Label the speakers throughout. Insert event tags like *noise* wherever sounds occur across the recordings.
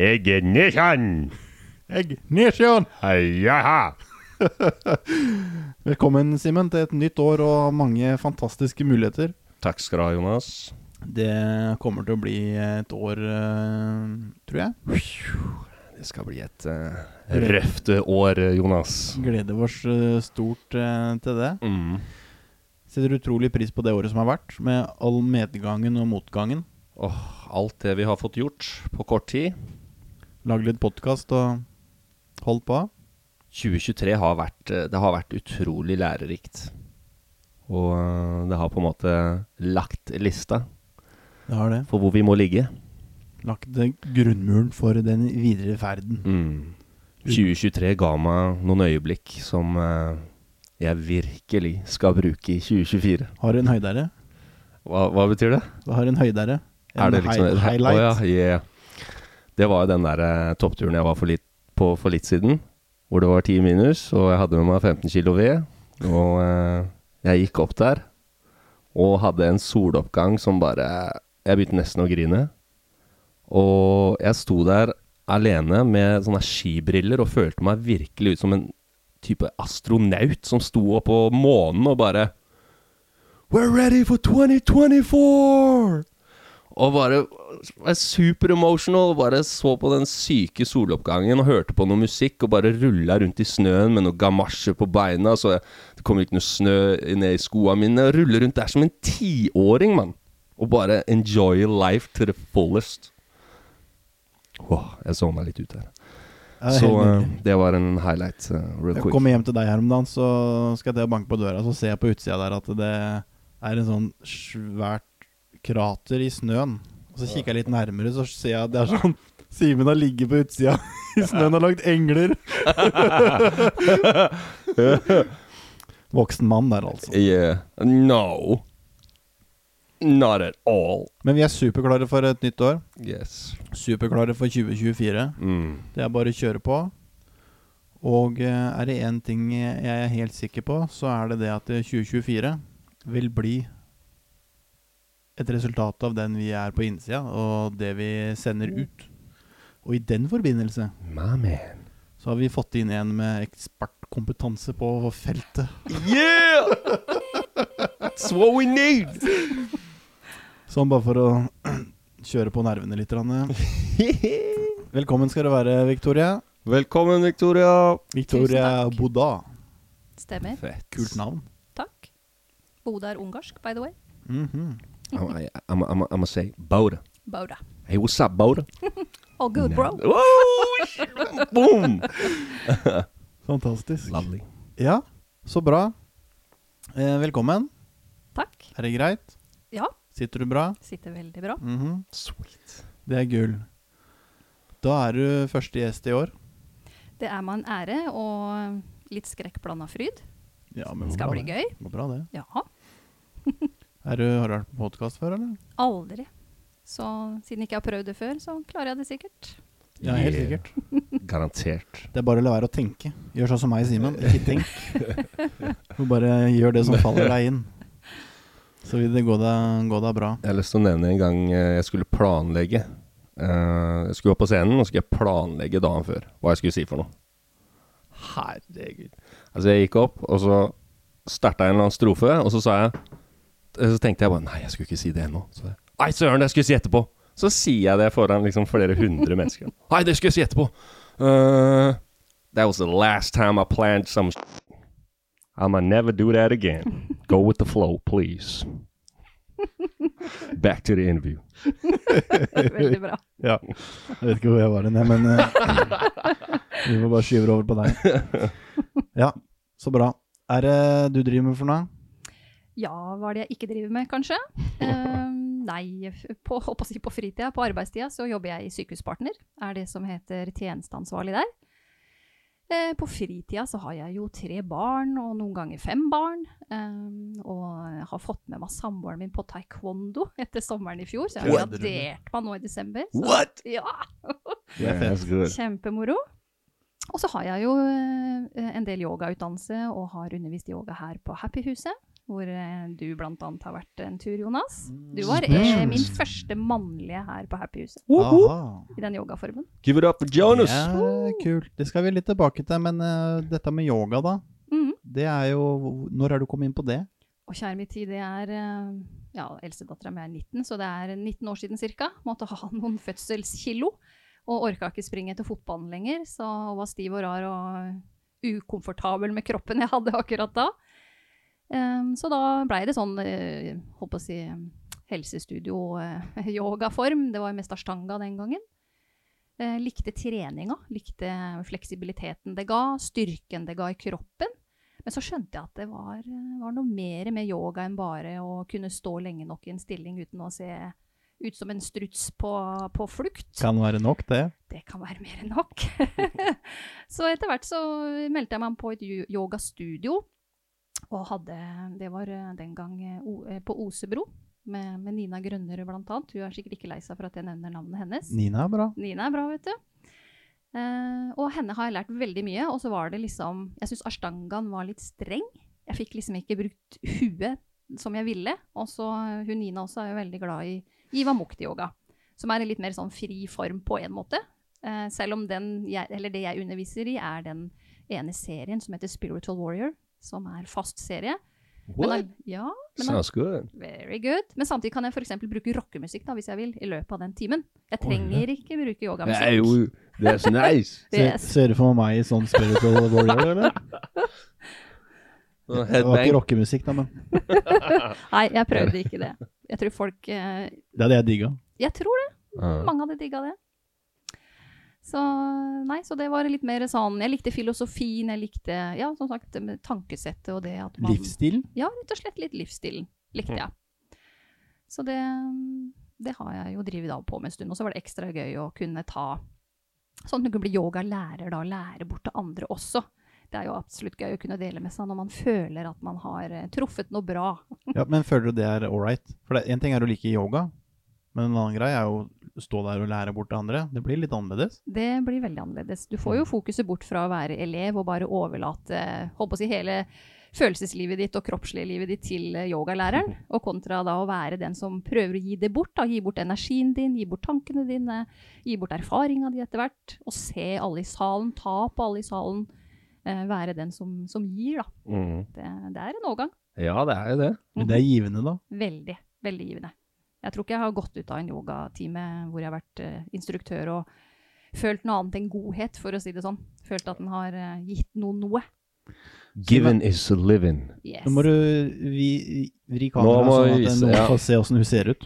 Speaker 1: Ignition!
Speaker 2: Ignition!
Speaker 1: Jaha!
Speaker 2: Velkommen, Simen, til et nytt år og mange fantastiske muligheter.
Speaker 1: Takk skal du ha, Jonas.
Speaker 2: Det kommer til å bli et år, eh, tror jeg.
Speaker 1: Det skal bli et uh, røft år, Jonas.
Speaker 2: Gleder oss eh, stort eh, til det.
Speaker 1: Mm.
Speaker 2: Setter utrolig pris på det året som har vært, med all medgangen og motgangen.
Speaker 1: Åh, alt det vi har fått gjort på kort tid.
Speaker 2: Lagd litt podkast og holdt på.
Speaker 1: 2023 har vært, eh, det har vært utrolig lærerikt. Og eh, det har på en måte lagt lista
Speaker 2: Det har det.
Speaker 1: for hvor vi må ligge.
Speaker 2: Lagt eh, grunnmuren for den videre ferden.
Speaker 1: Mm. 2023 ga meg noen øyeblikk som eh, jeg virkelig skal bruke i 2024.
Speaker 2: Har en høydere.
Speaker 1: Hva, hva betyr det?
Speaker 2: Har en høydere. En
Speaker 1: er det liksom
Speaker 2: hi- highlight.
Speaker 1: Å ja, yeah. Det var jo den der eh, toppturen jeg var for litt, på for litt siden, hvor det var 10 minus, og jeg hadde med meg 15 kilo ved. Og eh, jeg gikk opp der og hadde en soloppgang som bare Jeg begynte nesten å grine. Og jeg sto der alene med sånne skibriller og følte meg virkelig ut som en type astronaut som sto oppå månen og bare We're ready for 2024! Og bare var super emotional. Bare så på den syke soloppgangen og hørte på noe musikk og bare rulla rundt i snøen med noe gamasje på beina. Så jeg, det kom ikke noe snø ned i skoa mine. Og rulle rundt der som en tiåring, mann. Og bare enjoy life to the fullest. Åh, jeg sovna litt ut her.
Speaker 2: Ja, det er
Speaker 1: så
Speaker 2: helt nydelig.
Speaker 1: eh, det var en highlight. eh, real
Speaker 2: Jeg
Speaker 1: quick.
Speaker 2: kommer hjem til deg her om dagen, så skal jeg til å banke på døra, så ser jeg på utsida der at det er en sånn svært krater i snøen. Og så kikker jeg litt nærmere, så ser jeg at det er sånn *laughs* Simen har ligget på utsida *laughs* i snøen og lagd engler. Voksen mann der, altså.
Speaker 1: Yeah. No. Not at all.
Speaker 2: Men vi er superklare for et nytt år.
Speaker 1: Yes.
Speaker 2: Superklare for 2024.
Speaker 1: Mm.
Speaker 2: Det er bare å kjøre på. Og eh, er det én ting jeg er helt sikker på, så er det det at 2024 vil bli et resultat av den vi er på innsida, og det vi sender
Speaker 3: Mm.
Speaker 2: ut. Og i den forbindelse
Speaker 1: My man.
Speaker 2: så har vi fått inn en med ekspertkompetanse på feltet.
Speaker 1: Yeah! That's what we *laughs* need!
Speaker 2: Sånn bare for å *clears throat* kjøre på nervene litt. grann. Velkommen skal du være, Victoria.
Speaker 1: Velkommen, Victoria.
Speaker 2: Victoria
Speaker 3: Tusen takk.
Speaker 2: Boda.
Speaker 3: Stemmer.
Speaker 1: Fett.
Speaker 2: Kult navn.
Speaker 3: Takk. Boda er ungarsk, by the way.
Speaker 2: Mhm.
Speaker 1: I'm, Oh, I, I'm, I'm, I'm gonna say Boda.
Speaker 3: Boda.
Speaker 1: Hey, what's up, Boda?
Speaker 3: All good, bro.
Speaker 1: Oh, shit. Boom!
Speaker 2: Fantastisk.
Speaker 1: Lovely.
Speaker 2: Ja, så bra. Eh, velkommen.
Speaker 3: Takk.
Speaker 2: Er det greit?
Speaker 3: Ja,
Speaker 2: Sitter du bra?
Speaker 3: sitter veldig bra.
Speaker 2: Mhm.
Speaker 1: Sweet.
Speaker 2: Det er gull. Da er du første gjest i år.
Speaker 3: Det er meg en ære og litt skrekk blanda fryd.
Speaker 2: Ja, men
Speaker 3: Det skal
Speaker 2: bra
Speaker 3: bli
Speaker 2: det.
Speaker 3: gøy.
Speaker 2: Det går bra, det.
Speaker 3: Ja,
Speaker 2: Er du, har du vært på podkast før, eller?
Speaker 3: aldri. Så siden jeg ikke har prøvd det før, så klarer jeg det sikkert.
Speaker 2: Ja, helt
Speaker 1: Yeah.
Speaker 2: sikkert.
Speaker 1: Garantert.
Speaker 2: Det er bare å la være å tenke. Gjør sånn som meg, *laughs* Simen. Ikke tenk. Du bare gjør det som faller deg inn. Så vil det gå deg, gå deg bra.
Speaker 1: Jeg har lyst til å nevne en gang eh, jeg skulle planlegge. Eh, Jeg skulle opp på scenen, og så skulle jeg planlegge dagen før hva jeg skulle si for noe. Herregud. Altså, jeg gikk opp, og så starta jeg en eller annen strofe, og så sa jeg eh, Så tenkte jeg bare Nei, jeg skulle ikke si det ennå. Så jeg, Nei, søren, det skulle jeg si etterpå! Så sier jeg det foran liksom flere hundre mennesker. Nei, det skulle jeg si etterpå! Eh, that was the last time I planned some s***. I'ma never do that again. Go with the flow, please. Back to the interview.
Speaker 3: Veldig bra.
Speaker 2: Ja. Jeg vet ikke hvor jeg var hen, jeg, men
Speaker 3: *laughs*
Speaker 2: eh, vi får bare skyve det over på deg. Ja, så bra. Er det du driver med for noe?
Speaker 3: Ja, hva er det jeg ikke driver med, kanskje? Ehm, nei, f- på, holdt på, å si på fritida, på arbeidstida, så jobber jeg i Sykehuspartner. Er det som heter tjenesteansvarlig der. Eh, på fritida så har jeg jo tre barn, og noen ganger fem barn. ehm, og har fått med meg samboeren min på taekwondo etter sommeren i fjor, så jeg har
Speaker 2: Kødder du med?
Speaker 3: gradert meg nå i desember. Så,
Speaker 1: What?
Speaker 3: *laughs* ja,
Speaker 1: Yeah, that's good.
Speaker 3: Kjempemoro. Og så har jeg jo eh, en del yogautdannelse og har undervist i yoga her på Happyhuset. Hvor eh, du bl.a. har vært en tur, Jonas. Du var eh, min første mannlige her på Happyhuset.
Speaker 2: Aha.
Speaker 3: I den yogaformen.
Speaker 1: Give it up for Jonas!
Speaker 2: Ja, kult. Det skal vi litt tilbake til, men eh, dette med yoga, da.
Speaker 3: Mhm.
Speaker 2: Det er jo Når er du kommet inn på det?
Speaker 3: Og kjære min tid, det er eh, Ja, eldstedattera mi er 19, så det er 19 år siden ca. Måtte ha noen fødselskilo. Og orka ikke springe etter fotballen lenger, så var stiv og rar og ukomfortabel med kroppen jeg hadde akkurat da. Em, så da blei det sånn, eh, holdt på å si, helsestudio-yogaform. det var jo mest ashtanga den gangen. Eh, likte treninga, likte fleksibiliteten det ga, styrken det ga i kroppen. Men så skjønte jeg at det var, var noe mer med yoga enn bare å kunne stå lenge nok i en stilling uten å se ut som en struts på, på flukt.
Speaker 2: Kan være nok, det.
Speaker 3: Det kan være mer enn nok. *laughs* så etter hvert så meldte jeg meg på et yo- yogastudio. Og hadde, det var eh, den gang eh, O- eh, på Osebro, med, med Nina Grønnerød blant annet. Hun er sikkert ikke lei seg for at jeg nevner navnet hennes.
Speaker 2: Nina er bra.
Speaker 3: Nina er bra, vet du. Eh, og henne har jeg lært veldig mye. Og så var det liksom Jeg syns ashtangaen var litt streng. Jeg fikk liksom ikke brukt huet som jeg ville. Og så eh, hun Nina også er jo veldig glad i Iva Mukti-yoga, som er en litt mer sånn fri form på en måte. Eh, selv om den jeg, eller det jeg underviser i, er den ene serien som heter Spiritual Warrior, som er fast serie. Men
Speaker 1: What?
Speaker 3: all- ja, men all-
Speaker 1: Sounds good.
Speaker 3: Very good. Men samtidig kan jeg f.eks. bruke rockemusikk da, hvis jeg vil, i løpet av den timen. Jeg trenger ikke bruke
Speaker 1: Hey,
Speaker 3: yogamusikk.
Speaker 1: we- that's *laughs* nice.
Speaker 2: Ser,
Speaker 3: Yes.
Speaker 2: ser du for meg i sånn spiritual warrior, eller?
Speaker 1: Well,
Speaker 2: Det var ikke
Speaker 1: Headbang.
Speaker 2: rockemusikk, da, men
Speaker 3: Nei, jeg prøvde ikke det. Jeg tror folk eh,
Speaker 2: det hadde jeg digga.
Speaker 3: Jeg tror det.
Speaker 1: Uh,
Speaker 3: Mange hadde digga det. Så nei, så det var litt mer sånn Jeg likte filosofien, jeg likte ja, som sagt, det med tankesettet og det at man
Speaker 2: Livsstilen?
Speaker 3: Ja, rett og slett litt livsstilen likte jeg. Så det, det har jeg jo drevet av på med en stund. Og så var det ekstra gøy å kunne ta Sånn at du kunne bli yogalærer, da, og lære bort til andre også. Det er jo absolutt gøy å kunne dele med seg når man føler at man har eh, truffet noe bra.
Speaker 2: Ja, men føler du det er ålreit? For det- en ting er å like yoga, men en annen greie er jo å stå der og lære bort til andre. Det blir litt annerledes.
Speaker 3: Det blir veldig annerledes. Du får jo fokuset bort fra å være elev og bare overlate holdt på å si, hele følelseslivet ditt og kroppslige livet ditt til eh, yogalæreren, og kontra da å være den som prøver å gi det bort. Da. Gi bort energien din, gi bort tankene dine, gi bort erfaringa di etter hvert. Og se alle i salen, ta på alle i salen. Eh, være den som, som gir, da.
Speaker 1: mm.
Speaker 3: Det, det er en overgang.
Speaker 1: Ja, det er jo det.
Speaker 2: Men det er givende, da.
Speaker 3: Veldig, veldig givende. Jeg tror ikke jeg har gått ut av en yogatime hvor jeg har vært eh, instruktør og følt noe annet enn godhet, for å si det sånn. Følt at den har eh, gitt noen noe.
Speaker 1: Given is living.
Speaker 3: Yes.
Speaker 2: Nå må du vi, vri
Speaker 1: Nå må vi
Speaker 2: kameraet sånn at
Speaker 1: vise,
Speaker 2: noen
Speaker 1: ja.
Speaker 2: får se åssen hun ser ut.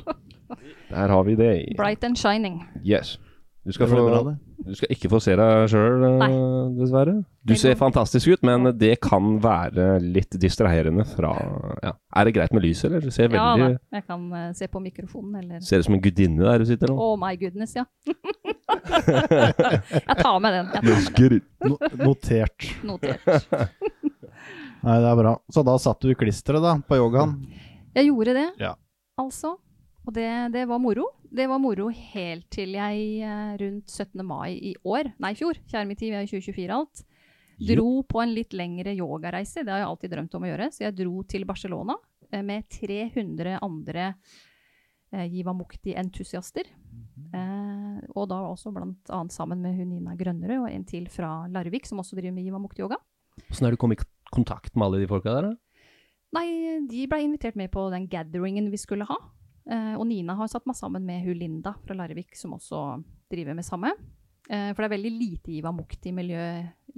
Speaker 1: Der har vi det.
Speaker 3: Bright and shining.
Speaker 1: Yes. Du skal
Speaker 2: Det blir bra,
Speaker 1: få
Speaker 2: det.
Speaker 1: Du skal ikke forsere deg sjøl,
Speaker 3: Nei.
Speaker 1: dessverre. Du
Speaker 3: Det
Speaker 1: ser
Speaker 3: går.
Speaker 1: fantastisk ut, men det kan være litt distraherende fra ja. Er det greit med lys, eller? Du ser
Speaker 3: Ja da,
Speaker 1: veldig
Speaker 3: jeg kan eh, se på mikrofonen,
Speaker 2: Sånn.
Speaker 3: eller
Speaker 1: Ser ut som en gudinne der du sitter nå.
Speaker 3: Oh my goodness,
Speaker 2: *laughs*
Speaker 3: ja. *laughs* jeg tar med den. Jeg tar med
Speaker 1: Elsker.
Speaker 2: No notert.
Speaker 3: den. Notert.
Speaker 2: Nei, det er bra. Så da satt du i klisteret, da, på yogaen.
Speaker 1: Mm.
Speaker 3: Jeg gjorde det,
Speaker 2: Ja.
Speaker 3: altså. Og det, det var moro. Det var moro helt til jeg eh, rundt 17. mai i år, nei i fjor, kjære min tid, vi er i 2024 alt, dro på en litt lengre yogareise. Det har jeg alltid drømt om å gjøre. Så jeg dro til Barcelona eh, med 300 andre eh, Jivamukti-entusiaster. Eh, og da også blant annet sammen med hun Nina Grønnerød og en til fra Larvik, som også driver med Jivamukti-yoga.
Speaker 1: Åssen er det du kommet i kontakt med alle de folka der, da?
Speaker 3: Nei, de ble invitert med på den gatheringen vi skulle ha. Eh, og Nina har satt meg sammen med hun Linda fra Larvik, som også driver med samme. Eh, for det er veldig lite Iva Mukti-miljø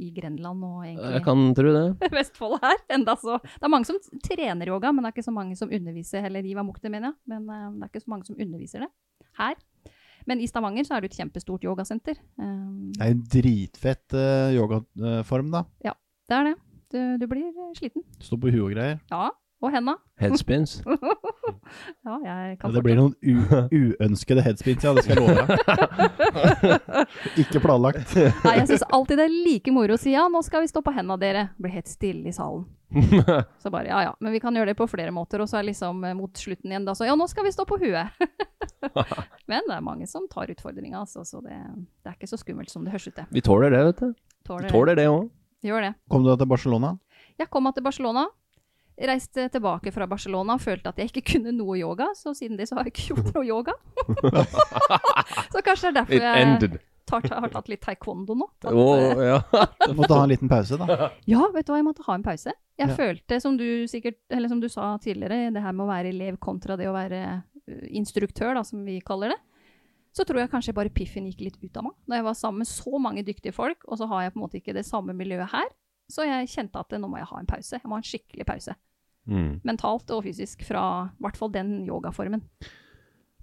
Speaker 3: i Grenland og
Speaker 1: Jeg
Speaker 3: egentlig
Speaker 1: kan tro det.
Speaker 3: *laughs* Vestfold her. Enda så. Det er mange som trener yoga, men det er ikke så mange som underviser heller Iva Mukti, mener jeg. Men eh, det er ikke så mange som underviser det her. Men i Stavanger så er det jo et kjempestort yogasenter. Eh,
Speaker 2: Det er en dritfett eh, yogaform, da.
Speaker 3: det er det. Du, du blir eh, sliten.
Speaker 2: Stå på huet og greier.
Speaker 3: Ja. Og henda.
Speaker 1: Headspins.
Speaker 3: Ja, jeg kan
Speaker 2: Det blir noen u uønskede headspins, ja. Det skal jeg love
Speaker 1: *laughs*
Speaker 2: deg. Ikke planlagt.
Speaker 3: Nei, jeg syns alltid det er like moro å si ja, nå skal vi stå på hendene dere. Blir helt stille i
Speaker 1: *laughs*
Speaker 3: salen. Så bare ja ja, men vi kan gjøre det på flere måter. Og så er liksom eh, mot slutten igjen da så ja, nå skal vi stå på
Speaker 1: *laughs*
Speaker 3: huet. men det er mange som tar utfordringa, altså. Så det, det er ikke så skummelt som det høres ut til.
Speaker 1: Vi tåler det, vet du. Vi
Speaker 3: Tåler, det.
Speaker 1: tåler det òg.
Speaker 3: Gjør det.
Speaker 2: Kom du deg til Barcelona?
Speaker 1: *laughs*
Speaker 3: Jeg kom meg til Barcelona. Reiste tilbake fra Barcelona og følte at jeg ikke kunne noe yoga, så siden det så har jeg ikke gjort noe yoga.
Speaker 1: *laughs*
Speaker 3: *laughs* så kanskje det er derfor
Speaker 1: It
Speaker 3: jeg
Speaker 1: ended.
Speaker 3: tar, har tatt litt taekwondo nå. Tatt, eh,
Speaker 1: Å, ja.
Speaker 2: Du måtte ha en liten pause, da.
Speaker 3: Ja, vet du hva, jeg måtte ha en pause. Jeg
Speaker 2: Ja.
Speaker 3: følte, som du sikkert, eller som du sa tidligere, det her med å være elev kontra det å være ø, instruktør, da, som vi kaller det. Så tror jeg kanskje bare piffen gikk litt ut av meg. Da jeg var sammen med så mange dyktige folk, og så har jeg på en måte ikke det samme miljøet her. Så jeg kjente at eh, nå må jeg ha en pause. Jeg må ha en skikkelig pause.
Speaker 1: Mm.
Speaker 3: Mentalt og fysisk fra i hvert fall den yogaformen.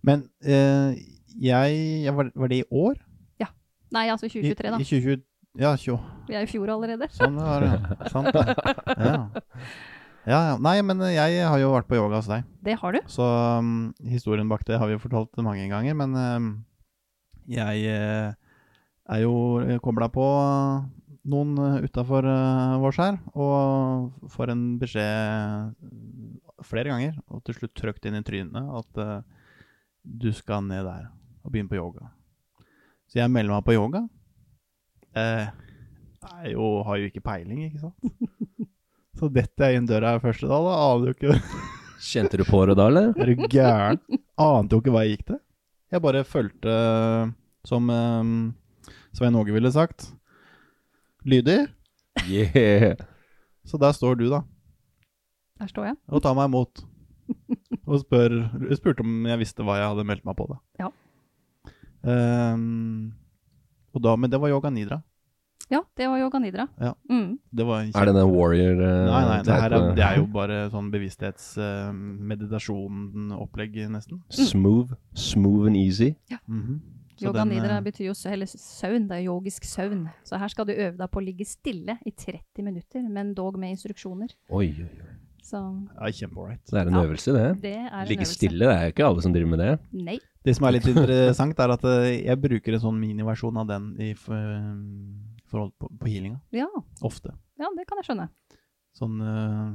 Speaker 2: Men eh, jeg, jeg var, var det i år?
Speaker 3: Nei, altså
Speaker 2: I,
Speaker 3: 2023,
Speaker 2: i
Speaker 3: da.
Speaker 2: 2020, ja, 20,
Speaker 3: Vi er i fjor allerede.
Speaker 2: sånn var det. ja. Sant det. Ja. Ja, ja. Nei, men jeg har jo vært på yoga hos deg.
Speaker 3: Det har du.
Speaker 2: Så um, historien bak det har vi jo fortalt mange ganger, men um, jeg eh, er jo kobla på noen utafor vårs her, og får en beskjed flere ganger, og til slutt trøkt inn i trynet, at eh, du skal ned der og begynne på yoga. Så jeg melder meg på yoga. Eh, jeg er jo, har jo ikke peiling, ikke sant? Så detter jeg inn døra her første dag, da aner jo ikke
Speaker 1: Kjente du på det da, eller?
Speaker 2: er du gæren? Ante jo ikke hva jeg gikk til. Jeg bare fulgte, som eh, Svein Åge ville sagt, lydig.
Speaker 1: Yeah.
Speaker 2: Så der står du, da,
Speaker 3: Der står jeg.
Speaker 2: og tar meg imot. Og spør, spurte om jeg visste hva jeg hadde meldt meg på, da.
Speaker 3: Ja.
Speaker 2: Ehm, og da, men det var yoga nidra.
Speaker 3: Ja, det var yoga nidra.
Speaker 2: Ja.
Speaker 3: Mm.
Speaker 2: Det var
Speaker 1: Er det den warrior eh,
Speaker 2: Nei, nei, det her er,
Speaker 1: type-
Speaker 2: det er jo bare sånn bevissthetsmeditasjon-opplegg, nesten.
Speaker 1: Mm. Smooth. Smooth and easy.
Speaker 2: Mhm. Så
Speaker 3: Yoga
Speaker 2: den, eh,
Speaker 3: nidra betyr jo sø- eller søvn, det er yogisk søvn. Så her skal du øve deg på å ligge stille i 30 minutter, men dog med instruksjoner.
Speaker 1: Oi, oi, oi.
Speaker 3: Så
Speaker 2: Ja, kjempeålreit.
Speaker 1: Det er en
Speaker 3: Ja.
Speaker 1: øvelse, det.
Speaker 3: det er en
Speaker 1: Ligge
Speaker 3: øvelse.
Speaker 1: stille, det er jo ikke alle som driver med det.
Speaker 3: Nei.
Speaker 2: Det som er litt interessant, er at eh, jeg bruker en sånn miniversjon av den i f- eh, forhold på, på healinga.
Speaker 3: Ja,
Speaker 2: Ofte.
Speaker 3: ja, det kan jeg skjønne.
Speaker 2: Sånn eh,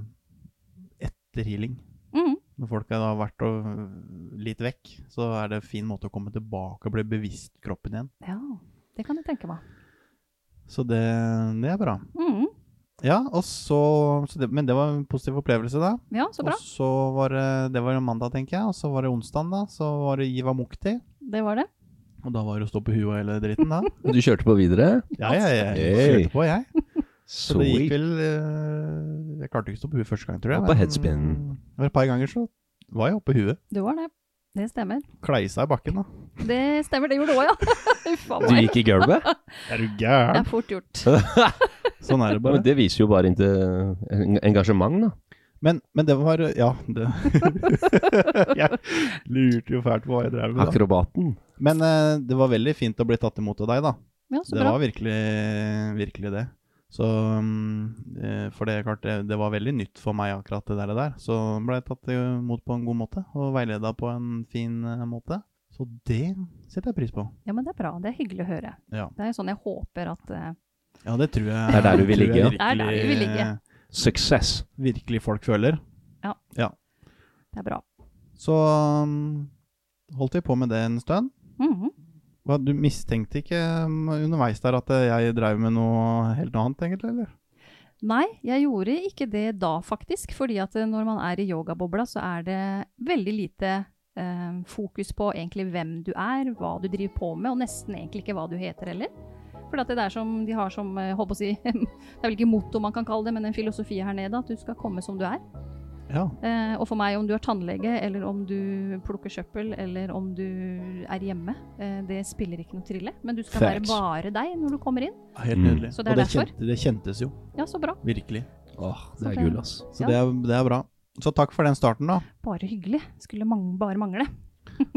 Speaker 2: etter healing.
Speaker 3: Mhm.
Speaker 2: Når folk har da vært og, eh, litt vekk, så er det en fin måte å komme tilbake og bli bevisst kroppen igjen.
Speaker 3: Ja, det kan jeg tenke meg.
Speaker 2: Så det, det er bra.
Speaker 3: Mhm.
Speaker 2: Ja, og så, så det, Men det var en positiv opplevelse, da.
Speaker 3: Ja, så bra.
Speaker 2: Og så var det, det var jo mandag, tenker jeg. Og så var det onsdag, da. Så var det Iva Mukti.
Speaker 3: Det var det.
Speaker 2: Og da var det å stå på huet og hele dritten,
Speaker 3: *laughs*
Speaker 2: da.
Speaker 1: Du kjørte på videre?
Speaker 2: Ja, ja, ja.
Speaker 1: Hey.
Speaker 2: Kjørte på, jeg. Så det gikk
Speaker 1: Sweet.
Speaker 2: vel eh, Jeg klarte ikke å stå på huet første gang, tror jeg.
Speaker 1: Det var på
Speaker 2: men
Speaker 1: headspin.
Speaker 2: det var Et par ganger så var jeg oppe i huet.
Speaker 3: Du var det. Det stemmer.
Speaker 2: Kleisa i bakken, da.
Speaker 3: Det stemmer, det gjorde du òg, ja. *laughs* Uff a
Speaker 1: Du
Speaker 3: meg.
Speaker 1: gikk i gulvet?
Speaker 2: Er du
Speaker 3: Det
Speaker 2: gæren?
Speaker 3: er fort gjort.
Speaker 2: Sånn er det
Speaker 1: Ja, men
Speaker 2: bare.
Speaker 1: det viser jo bare inte- en- engasjement, da.
Speaker 2: Men, men det var Ja, det *laughs* Jeg lurte jo fælt på hva jeg drev med, da.
Speaker 1: Akrobaten.
Speaker 2: Men eh, det var veldig fint å bli tatt imot av deg, da.
Speaker 3: Ja, så
Speaker 2: det
Speaker 3: bra.
Speaker 2: var virkelig, virkelig det. Så, mm, eh, for det, er klart, det, det var veldig nytt for meg akkurat det der. og der. Så ble jeg tatt imot på en god måte, og veileda på en fin eh, måte. Så det setter jeg pris på.
Speaker 3: Ja, men det er bra. Det er hyggelig å høre.
Speaker 2: Ja,
Speaker 3: Det er jo sånn jeg håper at eh,
Speaker 2: ja det tror jeg
Speaker 1: Det er der du vil
Speaker 2: tror jeg
Speaker 1: ligge, ja.
Speaker 3: Det er der du vil ligge.
Speaker 1: Success.
Speaker 2: eh, Virkelig folk føler.
Speaker 3: det er bra.
Speaker 2: Så mm, holdt vi på med det en stund.
Speaker 3: Mhm.
Speaker 2: Hva, du mistenkte ikke mm, underveis der at eh, jeg drev med noe helt annet, egentlig? eller?
Speaker 3: Nei, jeg gjorde ikke det da, faktisk. Fordi at eh, når man er i yogabobla, så er det veldig lite eh, fokus på egentlig hvem du er, hva du driver på med, og nesten egentlig ikke hva du heter heller. For at det er som de har som eh, holdt på å si, *laughs* Det er vel ikke motto man kan kalle det, men en filosofi her nede. At du skal komme som du er.
Speaker 2: Ja.
Speaker 3: Eh, og for meg, om du er tannlege, eller om du plukker søppel, eller om du er hjemme, eh, det spiller ikke noe trille. Men du skal
Speaker 1: Facts.
Speaker 3: være bare deg når du kommer inn.
Speaker 2: Helt
Speaker 1: Mm.
Speaker 2: nydelig.
Speaker 3: Så det er
Speaker 2: og det,
Speaker 3: derfor?
Speaker 2: kjente, det kjentes jo.
Speaker 3: Ja, så bra.
Speaker 2: Virkelig.
Speaker 1: Åh, det
Speaker 3: Så
Speaker 1: er
Speaker 3: det-
Speaker 1: gull, ass.
Speaker 2: Så
Speaker 3: Ja.
Speaker 2: det, er, det er bra. Så takk for den starten,
Speaker 3: *laughs*
Speaker 2: da.
Speaker 3: Bare hyggelig. Skulle mang bare mangle.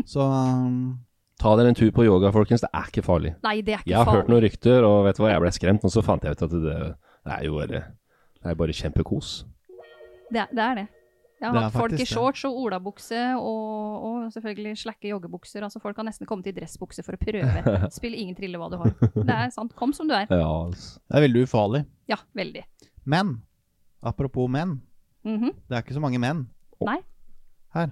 Speaker 2: Så um,
Speaker 1: Ta dere en tur på yoga, folkens. Det er ikke farlig.
Speaker 3: Nei, det er ikke
Speaker 1: Jeg har hørt
Speaker 3: farlig.
Speaker 1: noen rykter, og vet du hva, jeg ble skremt, og så fant jeg ut at det, det er jo bare, det er bare kjempekos.
Speaker 3: Det, er- det er det. Jeg har
Speaker 2: Det er
Speaker 3: hatt folk i
Speaker 2: faktisk det.
Speaker 3: shorts og olabukse og, og selvfølgelig slakke joggebukser. Altså, folk har nesten kommet i dressbukse for å prøve.
Speaker 1: *laughs*
Speaker 3: Spill ingen trille hva du har. Det er sant. Kom som du er.
Speaker 1: Ja, ass.
Speaker 2: det er veldig ufarlig.
Speaker 3: Ja, veldig.
Speaker 2: Men apropos menn.
Speaker 3: Mhm.
Speaker 2: Det er ikke så mange menn
Speaker 3: Nei,
Speaker 2: her.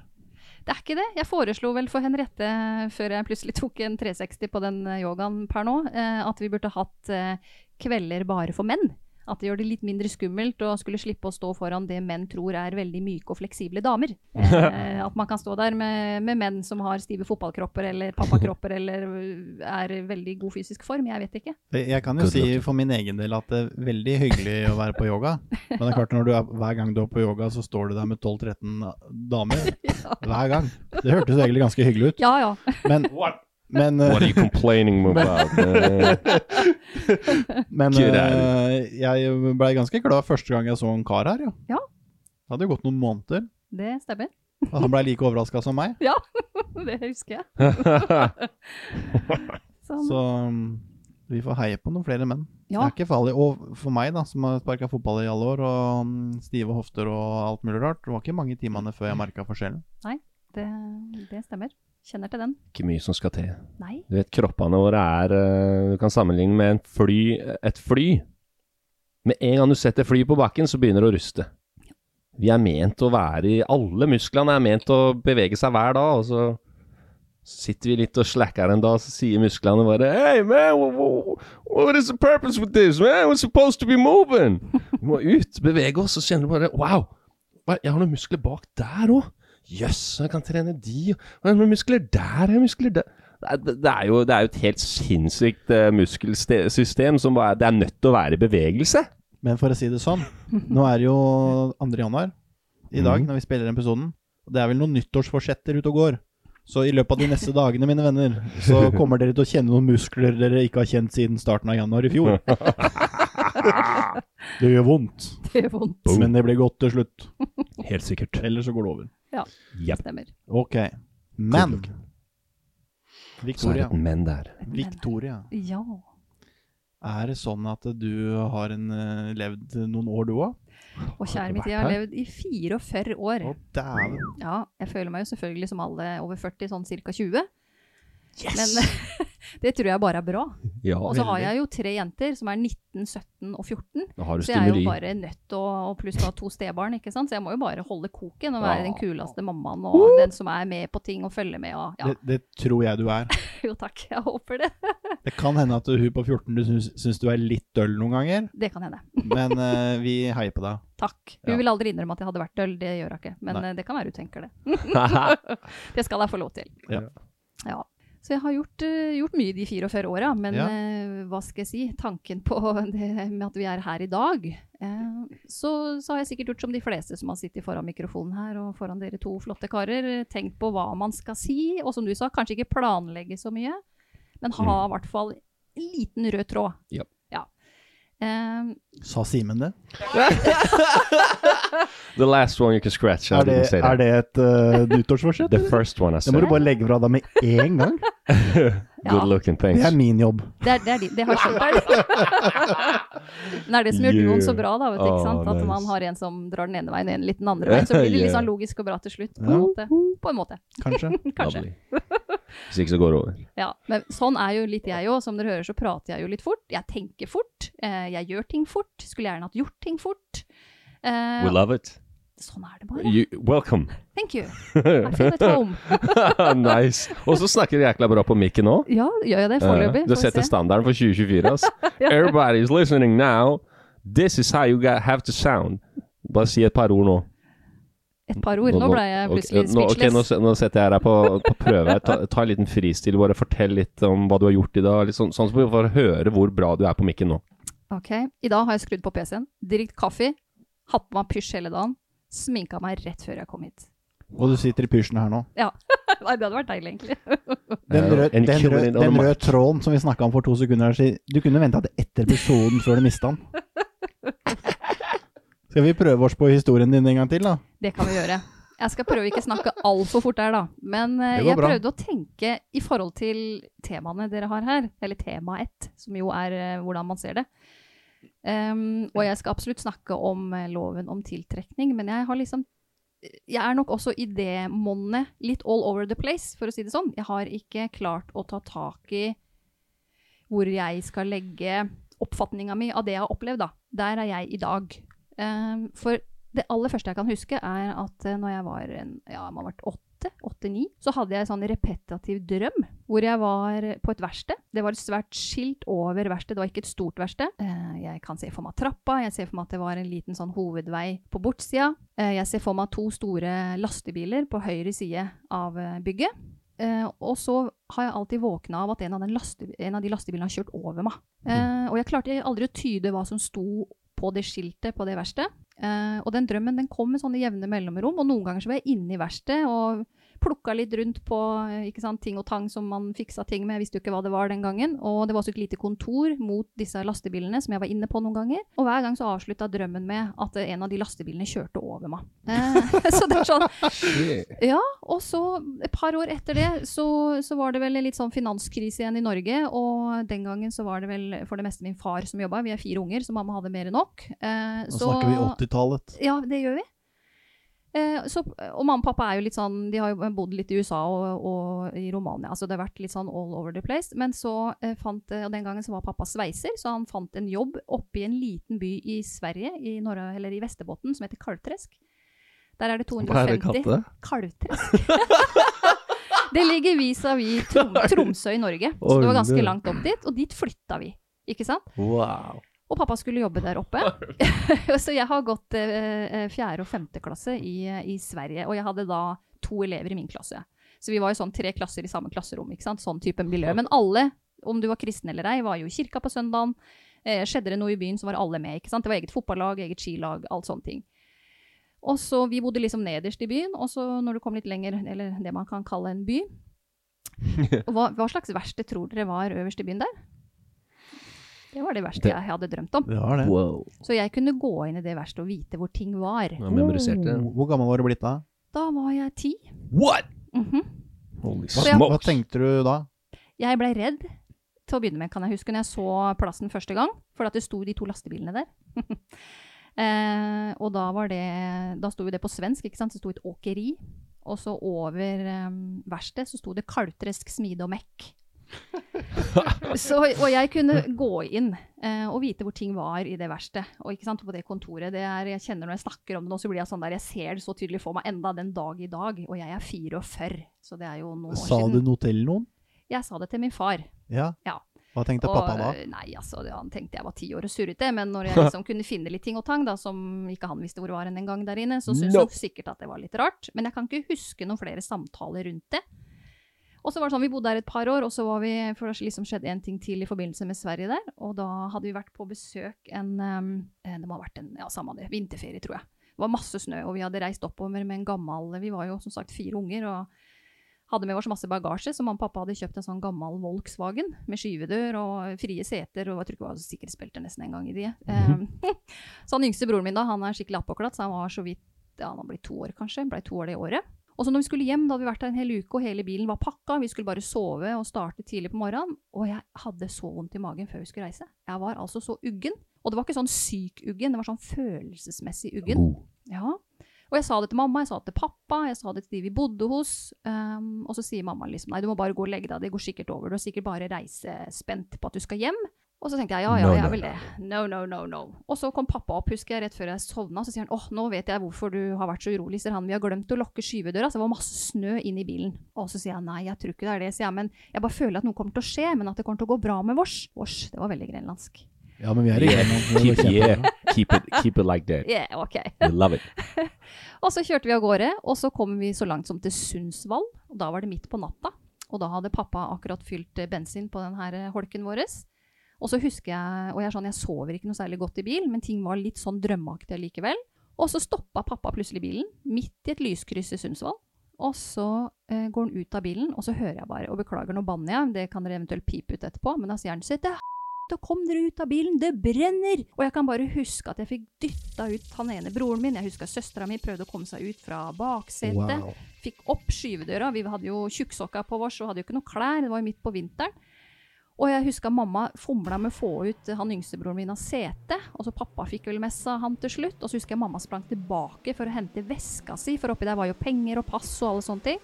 Speaker 3: det er ikke det. Jeg foreslo vel for Henriette, eh, før jeg plutselig *laughs* tok en 360 på den eh, yogaen per nå, eh, at vi burde hatt eh, kvelder bare for menn. At det gjør det litt mindre skummelt å skulle slippe å stå foran det menn tror er veldig myke og fleksible damer. Eh, at man kan stå der med, med menn som har stive fotballkropper eller pappakropper eller uh, er i veldig god fysisk form. Jeg vet ikke.
Speaker 2: Jeg jeg kan jo
Speaker 1: Good
Speaker 2: si
Speaker 1: luck.
Speaker 2: for min egen del at det er veldig hyggelig å være på
Speaker 3: *laughs*
Speaker 2: yoga. Men det er klart når du er, hver gang du er på yoga, så står du der med 12-13
Speaker 3: *laughs*
Speaker 2: damer. Hver gang. Det hørtes jo egentlig ganske hyggelig ut.
Speaker 3: Ja ja.
Speaker 2: Men, men,
Speaker 1: *laughs*
Speaker 2: uh,
Speaker 1: What are you complaining about? Eh,
Speaker 2: men
Speaker 1: Get
Speaker 2: eh, jeg blei ganske glad første gang jeg så en kar her, jo.
Speaker 3: Ja.
Speaker 2: Det hadde jo gått noen måneder.
Speaker 3: Det stemmer. *laughs*
Speaker 2: og Han blei like overraska som meg.
Speaker 3: Ja, det husker jeg. Sånn.
Speaker 2: Så um, vi får heie på noen flere menn. Det
Speaker 3: Ja.
Speaker 2: er ikke farlig. Og for meg, da, som har sparka fotball i alle år, og um, stive hofter og alt mulig rart, det var ikke mange timene før jeg merka forskjellen.
Speaker 3: Det, det stemmer. Kjenner til den.
Speaker 1: ikke mye som skal til.
Speaker 3: Nei.
Speaker 1: Du vet, kroppene våre er eh, Du kan sammenligne med en fly, et fly. Med en gang du setter flyet på bakken, så begynner det å ruste. Vi er ment å være i Alle musklene er ment å bevege seg hver dag, og så sitter vi litt og slacker en dag, så sier musklene bare Hey man, wha- wha- what is the purpose with this, man? We're supposed to be moving! Vi må ut, bevege oss, og så kjenner du bare Wow! hva- Jeg har noen muskler bak der òg! Jøss, jeg kan trene de og jeg har noen muskler der, jeg har muskler der det er, det, er jo, det er jo et helt sinnssykt eh, muskelsystem som bare, det er nødt til å være i bevegelse.
Speaker 2: Men for å si det sånn, nå er det jo 2. januar i dag
Speaker 1: Mhm.
Speaker 2: når vi spiller den episoden. Og det er vel noen nyttårsforsetter ute og går. Så i løpet av de neste dagene, mine venner, så
Speaker 1: *laughs*
Speaker 2: kommer dere til å kjenne noen muskler dere ikke har kjent siden starten av januar i
Speaker 1: *laughs*
Speaker 2: fjor. Det gjør vondt,
Speaker 3: *laughs* Det gjør vondt.
Speaker 2: men det blir godt til slutt.
Speaker 1: Helt sikkert.
Speaker 2: Ellers så går det over.
Speaker 1: Yep.
Speaker 3: Stemmer.
Speaker 2: Ok. Men
Speaker 1: Good luck. Så er det
Speaker 2: Victoria,
Speaker 1: et men der.
Speaker 2: Victoria,
Speaker 3: Ja.
Speaker 2: er det sånn at du har en, eh, levd noen år, du òg?
Speaker 3: Og kjære
Speaker 1: du
Speaker 3: mitt,
Speaker 1: vært
Speaker 3: jeg har
Speaker 1: her?
Speaker 3: levd i 44 år.
Speaker 2: Å, dæven.
Speaker 3: Ja, jeg føler meg jo selvfølgelig som alle over 40, sånn ca. 20. Men *laughs* det tror jeg bare er bra.
Speaker 1: Ja,
Speaker 3: Og så har jeg jo tre jenter som er 19, 17 og 14.
Speaker 1: Da har du
Speaker 3: Så jeg er jo
Speaker 1: stimuli.
Speaker 3: bare nødt til å Og pluss da to stebarn, ikke sant. Så jeg må jo bare holde koken og være
Speaker 1: Ja.
Speaker 3: den kuleste mammaen og den som er med på ting og følger med og Ja,
Speaker 2: Det, det tror jeg du er.
Speaker 3: *laughs* jo takk, jeg håper det.
Speaker 2: Det kan hende at hun på 14 du syns, syns du er litt døll noen ganger,
Speaker 3: Det kan hende.
Speaker 2: men eh, vi heier på deg.
Speaker 3: Takk. Hun
Speaker 2: Ja.
Speaker 3: vil aldri innrømme at jeg hadde vært døll, det gjør hun ikke. Men
Speaker 2: Nei.
Speaker 3: eh, det kan være hun tenker det. Det skal jeg få lov til.
Speaker 2: Ja.
Speaker 3: Ja. Så jeg har gjort, eh, gjort mye de 44 åra, men
Speaker 2: Ja.
Speaker 3: eh, hva skal jeg si? Tanken på *laughs* det med at vi er her i dag eh, så, så har jeg sikkert gjort som de fleste som har sittet foran mikrofonen her og foran dere to flotte karer. eh, Tenkt på hva man skal si, og som du sa, kanskje ikke planlegge så mye, men ha
Speaker 2: Mm.
Speaker 3: i hvert fall en liten rød tråd.
Speaker 1: Ja.
Speaker 3: Eh,
Speaker 2: Sa Simen det?
Speaker 1: *laughs* The last one you can scratch. I
Speaker 2: Er det,
Speaker 1: didn't say that. *laughs*
Speaker 2: er det et uh, nyttårsforsett?
Speaker 1: The
Speaker 2: eller?
Speaker 1: first one I
Speaker 2: Det må
Speaker 1: said.
Speaker 2: du bare legge fra deg med en gang.
Speaker 3: Ja.
Speaker 1: Good looking things.
Speaker 2: Det er min jobb.
Speaker 3: Det, er, det, er de, det har jeg skjønt.
Speaker 1: *laughs*
Speaker 3: Men det er det som gjør duoen så bra, da. Vet du, ikke
Speaker 1: Ah,
Speaker 3: sant? At
Speaker 1: nice.
Speaker 3: man har en som drar den ene veien, og en litt den andre veien. Så blir
Speaker 1: *laughs*
Speaker 3: det litt sånn logisk og bra til slutt, på en måte. På en måte.
Speaker 2: Kanskje.
Speaker 3: Kanskje.
Speaker 1: Hvis ikke så går det over.
Speaker 3: Ja, men sånn er jo litt jeg òg. Som dere hører, så prater jeg jo litt fort. Jeg tenker fort. Eh, jeg gjør ting fort. Skulle gjerne hatt gjort ting fort. Eh,
Speaker 1: We love it.
Speaker 3: sånn er det bare.
Speaker 1: You, welcome. *laughs*
Speaker 3: Thank you. I feel at home.
Speaker 1: nice. Og så snakker du jækla bra på mikken nå.
Speaker 3: Ja, gjør jeg det foreløpig?
Speaker 1: Eh, Du
Speaker 3: Får vi
Speaker 1: setter
Speaker 3: se.
Speaker 1: standarden for
Speaker 3: *laughs*
Speaker 1: 2024, ass. Everybody's listening now. This is how you got, have to sound. Bare si et par ord nå.
Speaker 3: Et par ord. Nå ble jeg
Speaker 1: ok,
Speaker 3: plutselig
Speaker 1: nå- ok, nå,
Speaker 3: speechless.
Speaker 1: se- nå setter jeg deg på, på prøve. her. Ta, ta en liten fristil, bare fortell litt om hva du har gjort i dag. Litt sånn, sånn så vi får høre hvor bra du er på mikken nå.
Speaker 3: Ok, I dag har jeg skrudd på PC-en, drikket kaffe, hatt på meg pysj hele dagen, sminka meg rett før jeg kom hit. *laughs*
Speaker 2: Og du sitter i pysjen her nå.
Speaker 3: Ja. Nei, det hadde vært deilig, egentlig.
Speaker 2: Den,
Speaker 1: Ja,
Speaker 2: rød,
Speaker 1: and
Speaker 2: den,
Speaker 1: killing
Speaker 2: rød,
Speaker 1: it
Speaker 2: den
Speaker 1: on the
Speaker 2: røde
Speaker 1: mark.
Speaker 2: tråden som vi snakka om for to sekunder siden Du kunne venta til etter episoden før du
Speaker 1: *laughs*
Speaker 2: mista den. Skal vi prøve oss på historien din en gang til, da?
Speaker 3: Det kan vi gjøre. Jeg skal prøve å ikke snakke altfor fort der, da. Men eh,
Speaker 2: Det går
Speaker 3: jeg
Speaker 2: bra.
Speaker 3: prøvde å tenke i forhold til temaene dere har her, eller tema ett, som jo er eh, hvordan man ser det. Ehm, og jeg skal absolutt snakke om eh, loven om tiltrekning, men jeg har liksom Jeg er nok også i det monnet litt all over the place, for å si det sånn. Jeg har ikke klart å ta tak i hvor jeg skal legge oppfatninga mi av det jeg har opplevd, da. Der er jeg i dag. Ehm, for det aller første jeg kan huske, er at eh, når jeg var en, ja, man har vært åtte, åtte-ni, så hadde jeg en sånn repetativ drøm hvor jeg var på et verksted. Det var et svært skilt over verkstedet, det var ikke et stort verksted. Eh, Jeg kan se for meg trappa, jeg ser for meg at det var en liten sånn hovedvei på bortsida. Eh, Jeg ser for meg to store lastebiler på høyre side av eh, bygget. Eh, og så har jeg alltid våkna av at en av, den laste, en av de lastebilene har kjørt over meg. Eh, og jeg klarte aldri å tyde hva som sto på det skiltet på det verkstedet. Eh, og den drømmen den kom med sånne jevne mellomrom, og noen ganger så var jeg inne i verkstedet og plukka litt rundt på eh, ikke sant, ting og tang som man fiksa ting med, jeg visste jo ikke hva det var den gangen. Og det var også et lite kontor mot disse lastebilene som jeg var inne på noen ganger. Og hver gang så avslutta drømmen med at eh, en av de lastebilene kjørte over meg. Eh, *laughs* så det er sånn ja, og så et par år etter det så, så var det vel en litt sånn finanskrise igjen i Norge. Og den gangen så var det vel for det meste min far som jobba. Vi er fire unger, så mamma hadde mer enn nok. Eh,
Speaker 2: Nå snakker vi 80-tallet.
Speaker 3: Ja, det gjør vi. Eh, så, og mamma og pappa er jo litt sånn De har jo bodd litt i USA og, og i Romania. Altså det har vært litt sånn all over the place. Men så eh, fant eh, Og den gangen så var pappa sveiser, så han fant en jobb oppe i en liten by i Sverige, i, Norra, eller i Vestebotn, som heter Kalvtresk. Der er det 250 Kalvtresk. *laughs* det ligger vis-à-vis Trom Tromsø i Norge. Så det var ganske langt opp dit, og dit flytta vi. Ikke sant?
Speaker 1: Wow.
Speaker 3: Og pappa skulle jobbe der oppe. *laughs* så jeg har gått eh, eh, fjerde og femte klasse i, eh, i Sverige, og jeg hadde da to elever i min klasse. Så vi var jo sånn tre klasser i samme klasserom, ikke sant? sånn type miljø. Men alle, om du var kristen eller ei, var jo i kirka på søndagen. Eh, skjedde det noe i byen, så var alle med. ikke sant? Det var eget fotballag, eget skilag, alt sånne ting. Og så Vi bodde liksom nederst i byen, og så når du kom litt lenger, eller det man kan kalle en by Hva, hva slags verksted tror dere var øverst i byen der? Det var det verste
Speaker 1: Det-
Speaker 3: jeg hadde drømt om.
Speaker 2: Det var det.
Speaker 1: Wow.
Speaker 3: Så jeg kunne gå inn i det verkstedet og vite hvor ting var.
Speaker 1: Jeg memoriserte.
Speaker 2: Hvor- Hvor gammel var du blitt da?
Speaker 3: Da var jeg ti.
Speaker 1: What?
Speaker 3: Mhm.
Speaker 1: Holy
Speaker 2: Hva, hva
Speaker 1: smokes.
Speaker 2: tenkte du da?
Speaker 3: Jeg blei redd til å begynne med, kan jeg huske, når jeg så plassen første gang. For at det sto de to lastebilene der. *laughs* eh, og da var det Da sto jo det på svensk, ikke sant. Det sto et åkeri. Og så over eh, verkstedet så sto det Kaltresk smide og
Speaker 2: *laughs*
Speaker 3: mekk. så, og jeg kunne gå inn eh, og vite hvor ting var i det verkstedet. Og ikke sant, på det kontoret. Det er, jeg kjenner når jeg snakker om det nå, så blir jeg sånn der Jeg ser det så tydelig for meg enda den dag i dag. Og jeg er 44, så det er jo noen år
Speaker 2: Sa du
Speaker 3: siden.
Speaker 2: noe til noen?
Speaker 3: Jeg sa det til min far.
Speaker 2: Ja.
Speaker 3: Ja.
Speaker 2: Hva tenkte pappa da?
Speaker 3: Og, Nei, altså, det- Han tenkte jeg var ti år og surrete, men
Speaker 2: *laughs*
Speaker 3: når jeg liksom kunne finne litt ting og tang da, som ikke han visste hvor var en gang der inne, så syntes
Speaker 1: No.
Speaker 3: han sikkert at det var litt rart. Men jeg kan ikke huske noen flere samtaler rundt det. Og så var det sånn, Vi bodde der et par år, og så var vi, for det liksom skjedde en ting til i forbindelse med Sverige der. Og da hadde vi vært på besøk en ehm, eh, Det må ha vært en ja, samme det, vinterferie, tror jeg. Det var masse snø, og vi hadde reist oppover med en gammel Vi var jo som sagt fire unger. og hadde med oss masse bagasje, så mamma og pappa hadde kjøpt en sånn gammel Volkswagen med skyvedør og frie seter, og jeg tror ikke det var sikkerhetsbelter nesten en gang i de. Eh, *laughs* så han yngste broren min da, han er skikkelig oppåklatt, så han var så vidt, ja han har blitt to år kanskje, ble to år det året. Og så når vi skulle hjem, da hadde vi vært der en hel uke, og hele bilen var pakka, vi skulle bare sove og starte tidlig på morgenen, og jeg hadde så vondt i magen før vi skulle reise. Jeg var altså så uggen, og det var ikke sånn syk uggen, det var sånn følelsesmessig uggen.
Speaker 1: Oh.
Speaker 3: Ja. Og jeg sa det til mamma, jeg sa det til pappa, jeg sa det til de vi bodde hos. ehm, og så sier mamma liksom nei, du må bare gå og legge deg, det går sikkert over. Du er sikkert bare reisespent på at du skal hjem. Og så tenkte jeg ja, ja,
Speaker 1: No,
Speaker 3: jeg
Speaker 1: no,
Speaker 3: er vel det. No, no, no, no. Og så kom pappa opp, husker jeg, rett før jeg sovna. Så sier han åh, nå vet jeg hvorfor du har vært så urolig, sier han. Vi har glemt å lokke skyvedøra, så det var masse snø inn i bilen. Og så sier jeg nei, jeg tror ikke det er det, sier jeg. Men jeg bare føler at noe kommer til å skje, men at det kommer til å gå bra med vårs. Vårs, det var veldig grenlandsk.
Speaker 2: Ja, men vi er i Grenland.
Speaker 1: Keep, yeah, keep it, keep it like
Speaker 3: *laughs*
Speaker 1: that.
Speaker 3: Yeah, ok.
Speaker 1: We love it.
Speaker 3: Og så kjørte vi av gårde, og så kom vi så langt som til Sundsvall. Og da var det midt på natta, og da hadde pappa akkurat fylt eh, bensin på den her eh, holken vår. Og så husker jeg, og jeg er sånn, jeg sover ikke noe særlig godt i bil, men ting var litt sånn drømmeaktig likevel. Og så stoppa pappa plutselig bilen, midt i et lyskryss i Sundsvall. Og så eh, går han ut av bilen, og så hører jeg bare, og beklager, nå banner jeg, det kan dere eventuelt pipe ut etterpå, men da sier han sitt, og kom dere ut av bilen, det brenner! Og jeg kan bare huske at jeg fikk dytta ut han ene broren min, jeg husker søstera mi prøvde å komme seg ut fra baksetet.
Speaker 2: Wow.
Speaker 3: Fikk opp skyvedøra, vi hadde jo tjukksokka på oss og hadde jo ikke noe klær, det var jo midt på vinteren. Og jeg husker mamma fomla med å få ut han yngstebroren min av setet, og så pappa fikk vel med seg han til slutt, og så husker jeg mamma sprang tilbake for å hente veska si, for oppi der var jo penger og pass og alle sånne ting.